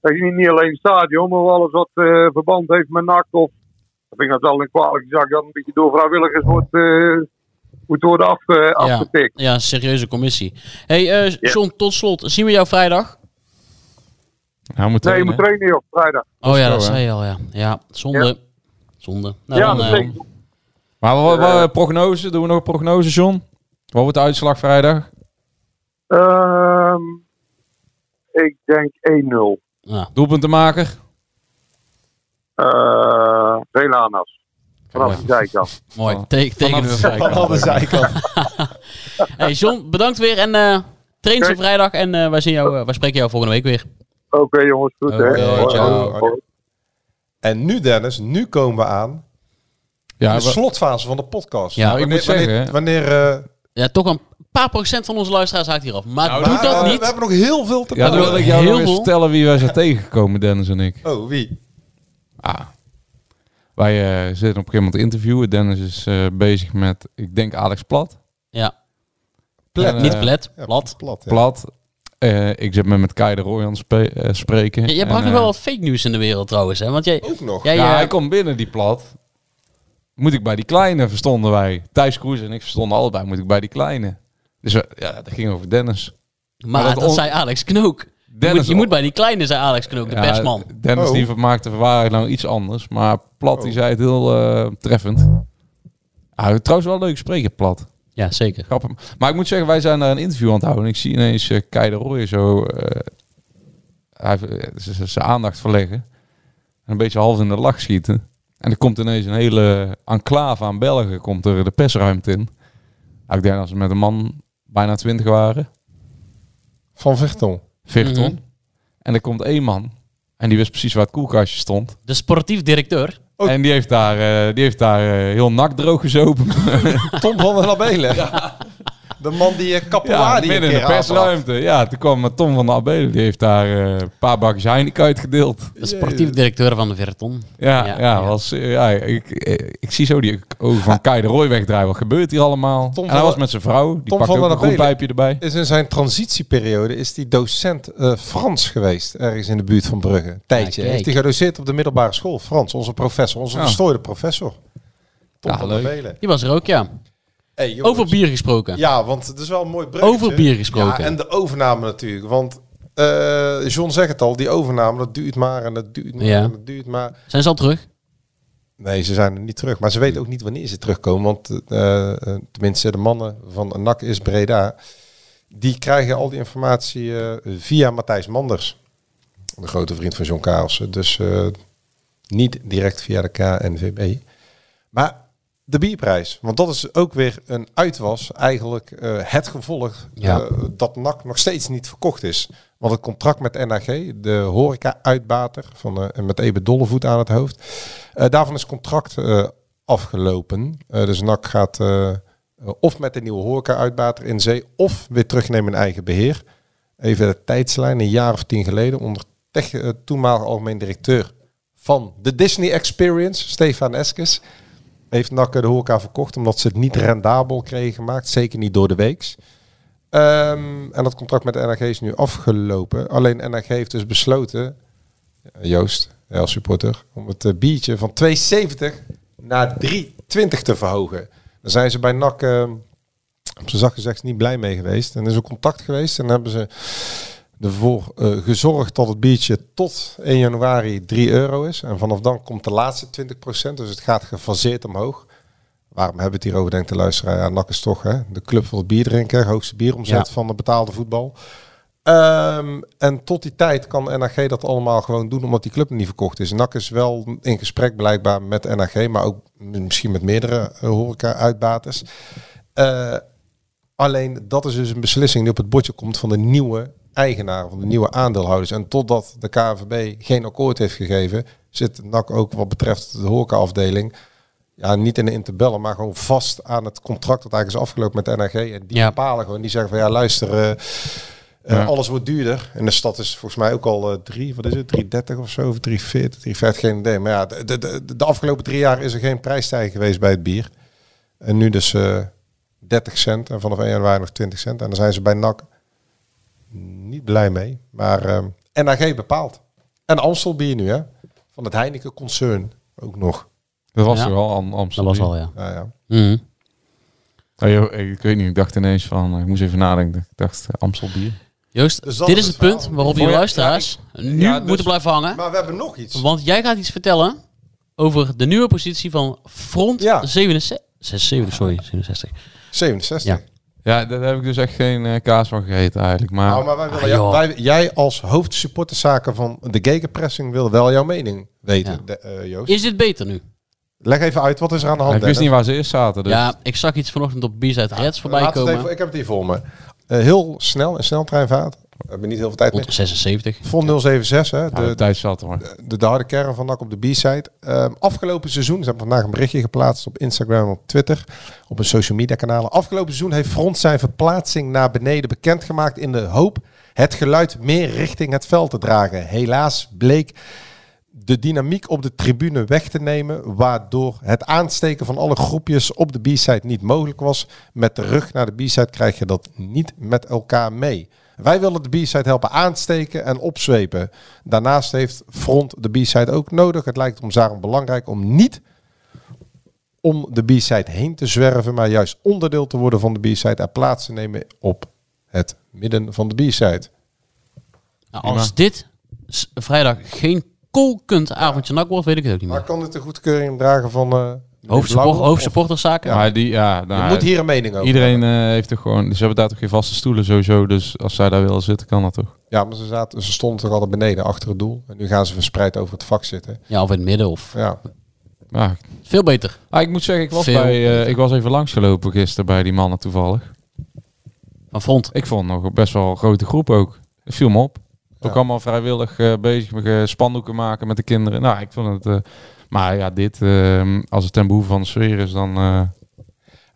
S10: dat is niet, niet alleen het stadion, maar alles wat eh, verband heeft met NAC. Of, dat vind ik dat wel een kwalijke zaak dat een beetje door vrijwilligers wordt, eh, moet worden af, eh, afgetikt.
S6: Ja, een serieuze commissie. hey, eh John, tot slot. Zien we jou vrijdag?
S7: Nou, moet
S10: Nee, je
S7: trainen,
S10: moet trainen joh, vrijdag.
S6: Oh ja,
S7: zo,
S6: dat
S7: hè?
S6: zei je al, ja. Ja, zonde.
S7: Ja.
S6: Zonde. Nou,
S10: Ja,
S6: dan,
S10: dat
S6: eh,
S10: denk ik.
S7: Maar wat, wat- eh, prognose? Doen we nog een prognose, John? Wat wordt de uitslag vrijdag?
S10: Ehm, ik denk 1-0.
S7: Doelpuntenmaker?
S10: Eh Relanas. Vanaf de zijkant.
S6: Mooi. Teken, tekenen we vrijdag. hey John, bedankt weer en eh train ze vrijdag en eh, wij, zien jou, eh, wij spreken jou volgende week weer.
S10: Oké jongens, goed hè.
S6: Oké,
S10: Hoi,
S6: ciao.
S10: hoi.
S8: en nu Dennis, nu komen we aan
S7: Ja,
S8: de
S7: we-
S8: slotfase van de podcast.
S6: Ja,
S7: ik moet
S8: wanneer,
S7: zeggen, hè.
S8: Wanneer, eh,
S6: Ja, toch een paar procent van onze luisteraars haakt hier af. Maar
S7: Nou,
S6: doe
S8: maar,
S6: dat
S8: eh,
S6: niet.
S8: We hebben nog heel veel te
S7: Ja, dan wil ik jou
S6: Heel
S7: nog eens
S6: veel.
S7: vertellen wie wij zijn [LAUGHS] tegengekomen, Dennis en ik.
S8: Oh, wie?
S7: Ah. Wij eh, zitten op een gegeven moment te interviewen. Dennis is eh, bezig met, ik denk, Alex Plat.
S6: Ja.
S7: Plat.
S6: niet plat,
S8: Ja,
S6: plat.
S8: plat. ja.
S7: Plat. Eh, ik zit met, met Kai de Roy aan het spe- eh, spreken.
S6: Je, je
S7: En,
S6: brengt nog
S7: eh,
S6: wel wat fake nieuws in de wereld trouwens, hè? Want jij,
S8: Ook nog.
S6: jij
S7: ja,
S6: eh,
S7: hij komt binnen, die plat. Moet ik bij die kleine, verstonden wij. Thijs Kroes en ik verstonden allebei, moet ik bij die kleine. Dus we- ja, dat ging over Dennis.
S6: maar dat,
S7: on-
S6: zei Alex Knook. Je
S7: Dennis
S6: moet, je moet bij die kleine, zei Alex Knook, de
S7: Ja,
S6: persman.
S7: Dennis
S8: Oh.
S7: die maakte verwaarheid nou iets anders. Maar Plat, die zei het heel eh, treffend. Ah, trouwens wel leuk spreken, Plat.
S6: Ja, zeker.
S7: Grappig. Maar ik moet zeggen, wij zijn daar een interview aan het houden. En ik zie ineens eh Kei de Roy zo... eh, hij heeft- eh, z- z- zijn aandacht verleggen. En een beetje half in de lach schieten. En er komt ineens een hele enclave aan Belgen. Komt er de persruimte in. Nou, ik denk als we met een man bijna twintig waren.
S8: Van Vechtel.
S7: Virton.
S6: Mhm.
S7: En er komt één man. En die wist precies waar het koelkastje stond.
S6: De sportief directeur.
S7: En die heeft daar, eh, die heeft daar eh, heel nak droog gezopen.
S8: Tom van der Labelen. De man die eh, Capella
S7: ja,
S8: die een
S7: midden in de
S8: keer aanbracht.
S7: persruimte. Ja, toen kwam eh, Tom van de Abelen. Die heeft daar eh, een paar bakjes Heineken uitgedeeld.
S6: De sportief directeur van de Verton.
S7: Ja,
S6: Ja,
S7: ja,
S6: ja.
S7: Was, eh, ja ik, eh, ik zie zo die ogen
S8: [LAUGHS]
S7: van Kai de Roy wegdraaien. Wat gebeurt hier allemaal?
S8: Tom
S7: en
S8: van
S7: hij was
S8: de-
S7: met zijn vrouw. Die
S8: Tom
S7: pakte
S8: van
S7: ook
S8: der
S7: een goed
S8: Abelen.
S7: pijpje erbij.
S8: is in zijn transitieperiode is die docent eh, Frans geweest, ergens in de buurt van Brugge. Een Tijdje.
S6: Ah, kijk.
S8: heeft hij gedoceerd op de middelbare school. Frans, onze professor, onze
S7: Ja.
S8: verstoorde professor. Tom
S7: Ja,
S8: van der
S7: leuk.
S8: Belen.
S6: Die was er ook, ja.
S8: Hey, jongens.
S6: Over bier gesproken.
S8: Ja, want het is wel een mooi bruggetje.
S6: Over bier gesproken.
S8: Ja, en de overname natuurlijk. Want eh John zegt het al, die overname, dat duurt maar en dat duurt maar
S6: Ja.
S8: en dat duurt maar.
S6: Zijn ze al terug?
S8: Nee, ze zijn er niet terug. Maar ze weten ook niet wanneer ze terugkomen. Want eh, eh, tenminste, de mannen van NAC is Breda. Die krijgen al die informatie eh, via Matthijs Manders. De grote vriend van John Kaarsen. Dus eh, niet direct via de KNVB. Maar de bierprijs, want dat is ook weer een uitwas, eigenlijk eh, het gevolg
S6: Ja.
S8: eh, dat NAC nog steeds niet verkocht is. Want het contract met NAG, de horeca-uitbater, van, eh, met Eben Dollevoet aan het hoofd, eh, daarvan is contract eh, afgelopen. Eh, dus NAC gaat eh, eh, of met de nieuwe horeca-uitbater in zee, of weer terugnemen in eigen beheer. Even de tijdslijn, een jaar of tien geleden, onder tech, eh, toenmalig algemeen directeur van de Disney Experience, Stefan Eskes, heeft NAC de horeca verkocht omdat ze het niet rendabel kregen gemaakt. Zeker niet door de weeks. Ehm, en dat contract met NAG is nu afgelopen. Alleen NAG heeft dus besloten, eh, Joost, jij als supporter, om het eh, biertje van 2,70 naar 3,20 te verhogen. Daar zijn ze bij NAC, ehm, op zijn zacht gezegd, niet blij mee geweest. En er is ook contact geweest en hebben ze ervoor eh, gezorgd dat het biertje tot 1 januari 3 euro is. En vanaf dan komt de laatste 20%, dus het gaat gefaseerd omhoog. Waarom hebben we het hierover, denkt de luisteraar? Ja, NAC is toch hè, de club van het bierdrinken, hoogste bieromzet
S6: Ja.
S8: van de betaalde voetbal. Ehm, en tot die tijd kan NAG dat allemaal gewoon doen omdat die club niet verkocht is. NAC is wel in gesprek blijkbaar met NAG, maar ook misschien met meerdere eh, horeca-uitbaters. Eh, alleen dat is dus een beslissing die op het bordje komt van de nieuwe eigenaar, van de nieuwe aandeelhouders. En totdat de KNVB geen akkoord heeft gegeven, zit NAC ook wat betreft de horecaafdeling ja, niet in de interbellen, maar gewoon vast aan het contract dat eigenlijk is afgelopen met NAG. En die
S6: Ja.
S8: bepalen gewoon, die zeggen van ja, luister, eh, eh,
S7: Ja.
S8: alles wordt duurder. En de stad is volgens mij ook al eh, drie, wat is het, 330 of zo, of 340, 350, geen idee. Maar ja, de, de, de, de afgelopen drie jaar is er geen prijsstijging geweest bij het bier. En nu dus eh 30 cent en vanaf 1 januari nog 20 cent. En daar zijn ze bij NAC niet blij mee. Maar ehm NAG bepaalt. En Amstel bier nu, hè? Van het Heineken Concern ook nog.
S7: Dat was
S6: Ja.
S7: toch al Am
S6: Dat
S7: Amsterdam.
S6: was al, ja.
S8: Nou ja.
S6: Mhm.
S7: Oh, joh, ik, ik weet niet, ik dacht ineens van, eh, ik moest even nadenken. Ik dacht eh, Amstelbier.
S6: Joost,
S8: Dus dat
S6: dit
S8: is
S6: is het
S8: het
S6: punt
S8: verhaal.
S6: waarop
S7: Voor
S6: je
S7: je-
S6: luisteraars nu
S7: ja, dus-
S6: moeten blijven hangen.
S8: Maar we hebben nog iets.
S6: Want jij gaat iets vertellen over de nieuwe positie van Front
S8: Ja.
S6: 67. 76, sorry, 67.
S8: 67.
S6: Ja.
S7: Ja, daar heb ik dus echt geen eh, kaas van gegeten eigenlijk. Maar,
S8: Nou, maar wij willen
S6: Ah,
S8: jou-
S6: joh.
S8: wij- jij als hoofdsupporterszaken van de gegenpressing wil wel jouw mening weten,
S6: Ja.
S8: de- eh, Joost.
S6: Is dit beter nu?
S8: Leg even uit, wat is er aan de hand?
S7: ik wist
S8: Dennis?
S7: niet waar ze eerst zaten. Dus.
S6: Ja, ik zag iets vanochtend op Bies uit Reds voorbij
S8: Laat het
S6: komen.
S8: even- ik heb het hier voor me. Eh, heel snel, een sneltreinvaart. We hebben niet heel veel tijd meer.
S6: Rond 76.
S8: Vol 076, hè,
S7: Nou, de,
S8: de,
S7: tijd zat er maar.
S8: de, de harde kern van NAC op de B-side. Ehm, afgelopen seizoen, ze hebben vandaag een berichtje geplaatst op Instagram en op Twitter, op hun social media kanalen. Afgelopen seizoen heeft Front zijn verplaatsing naar beneden bekendgemaakt in de hoop het geluid meer richting het veld te dragen. Helaas bleek de dynamiek op de tribune weg te nemen, waardoor het aansteken van alle groepjes op de B-side niet mogelijk was. Met de rug naar de B-side krijg je dat niet met elkaar mee. Wij willen de B-side helpen aansteken en opzwepen. Daarnaast heeft Front de B-side ook nodig. Het lijkt ons daarom belangrijk om niet om de B-side heen te zwerven, maar juist onderdeel te worden van de B-side en plaats te nemen op het midden van de B-side.
S6: Nou, als dit s- vrijdag geen kolkend avondje nak wordt, weet ik het ook niet
S8: Maar
S6: meer.
S8: kan dit de goedkeuring dragen van eh
S6: Hoofdsupport,
S8: Blauw?
S6: hoofdsupporterszaken?
S7: Maar die, ja,
S8: Je
S7: nou,
S8: moet hier een mening over.
S7: Iedereen eh, heeft toch gewoon... Ze hebben daar toch geen vaste stoelen sowieso. Dus als zij daar willen zitten, kan dat toch?
S8: Ja, maar ze, zaten, ze stonden toch altijd beneden achter het doel. En nu gaan ze verspreid over het vak zitten.
S6: Ja, of in het midden. Of...
S8: Ja,
S7: Ja.
S6: Veel beter.
S7: Ah, ik moet zeggen, ik was,
S6: Veel
S7: bij, eh,
S6: beter.
S7: ik was even langsgelopen gisteren bij die mannen toevallig.
S6: Van Front.
S7: Ik vond nog best wel een grote groep ook. Het viel me op. Ook allemaal vrijwillig eh, bezig met eh, spandoeken maken met de kinderen. Nou, ik vond het... eh, maar ja, dit, eh, als het ten behoeve van de sfeer is, dan... eh,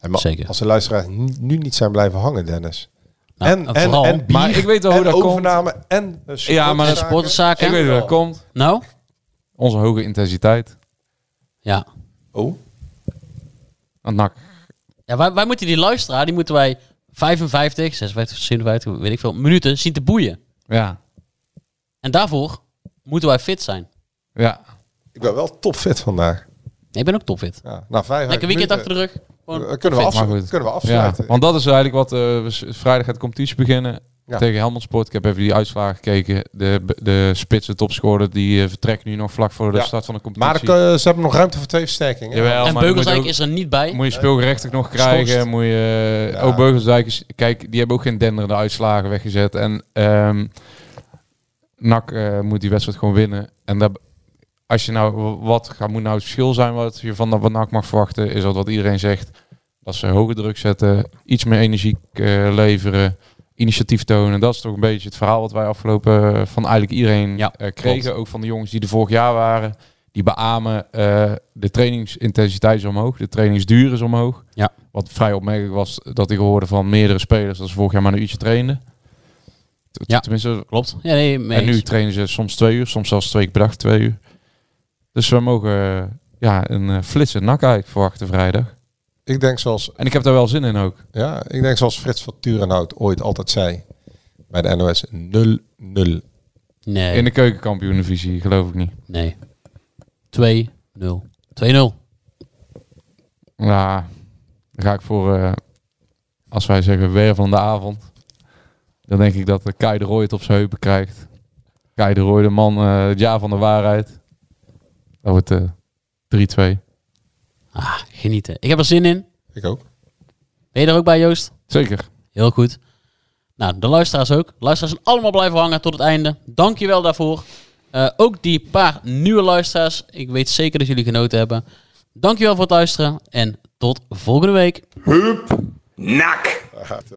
S8: en maar
S6: Zeker.
S8: als de luisteraars ni- nu niet zijn blijven hangen, Dennis.
S6: Nou,
S8: en, en,
S6: vooral-
S8: en bier,
S7: Maar ik weet wel hoe
S8: en
S7: dat komt.
S8: overname en eh,
S7: Ja, maar dat-
S6: Sporterszaken.
S7: ik weet hoe dat komt.
S6: Nou?
S7: Onze hoge intensiteit.
S6: Ja.
S8: Oh,
S7: Want NAC
S6: ja wij, wij moeten die luisteraar, die moeten wij 55, 56, 57, weet ik veel, minuten zien te boeien.
S7: Ja,
S6: En daarvoor moeten wij fit zijn.
S7: ja.
S8: ik ben wel topfit vandaag.
S6: Nee, ik ben ook topfit.
S8: Ja, na 55
S6: Lekker weekend
S8: minuten-
S6: achter de rug. Gewoon
S8: Eh, kunnen, we
S7: Fit, maar
S8: afslu-
S7: goed.
S8: kunnen we
S7: ja.
S8: afsluiten?
S7: Want dat is eigenlijk wat... eh, we s- vrijdag gaat de competitie beginnen
S8: Ja.
S7: tegen Helmond Sport. Ik heb even die uitslagen gekeken. De, de spitsen topscorer die eh, vertrekt nu nog vlak voor de
S8: Ja.
S7: start van de competitie.
S8: maar er kun- ze hebben nog ruimte voor twee versterkingen.
S7: Jawel,
S6: en
S7: maar dan moet je,
S6: Beugelsdijk
S7: ook-
S6: is er niet bij.
S7: moet je speelgerechtig nog krijgen.
S8: Geschorst.
S7: Moet je,
S8: Ja.
S7: Oh, Beugelsdijk is... Kijk, die hebben ook geen denderende uitslagen weggezet. En ehm NAC eh, moet die wedstrijd gewoon winnen. En dat, Als je nou, wat gaat, moet nou het verschil zijn wat je van Van NAC mag verwachten? Is dat wat iedereen zegt? Dat ze hoge druk zetten, iets meer energie eh, leveren, initiatief tonen. Dat is toch een beetje het verhaal wat wij afgelopen eh, van eigenlijk iedereen eh, kregen.
S6: klopt.
S7: Ook van de jongens die er vorig jaar waren. Die beamen eh, de trainingsintensiteit is omhoog, de trainingsduur is omhoog.
S6: Ja.
S7: Wat vrij opmerkelijk was dat ik hoorde van meerdere spelers dat ze vorig jaar maar een uurtje trainden. T-
S6: Ja,
S7: Tenminste,
S6: klopt. Ja, nee, mee
S7: en nu
S6: eens.
S7: trainen ze soms twee uur, soms zelfs twee keer per dag twee uur. Dus we mogen eh, ja, een eh, flitsen nak uit verwachten vrijdag.
S8: Ik denk zoals...
S7: En ik heb daar wel zin in ook.
S8: Ja, ik denk zoals Frits van Turenhout ooit altijd zei bij de NOS 0-0.
S6: Nee.
S7: In de keukenkampioenvisie, geloof ik niet.
S6: Nee. 2-0. 2-0.
S7: Ja, dan ga ik voor, eh, als wij zeggen wervelende avond, dan denk ik dat eh, Kai de Roy het op zijn heupen krijgt. Kai de Roy, de man, eh, het jaar van de waarheid. Dat wordt eh, 3-2.
S6: Ah, genieten. Ik heb er zin in.
S8: Ik ook.
S6: Ben je er ook bij, Joost?
S7: Zeker.
S6: Heel goed. Nou, de luisteraars ook. De luisteraars zijn allemaal blijven hangen tot het einde. Dankjewel daarvoor. Eh, ook die paar nieuwe luisteraars. Ik weet zeker dat jullie genoten hebben. Dankjewel voor het luisteren en tot volgende week. Hup, nak.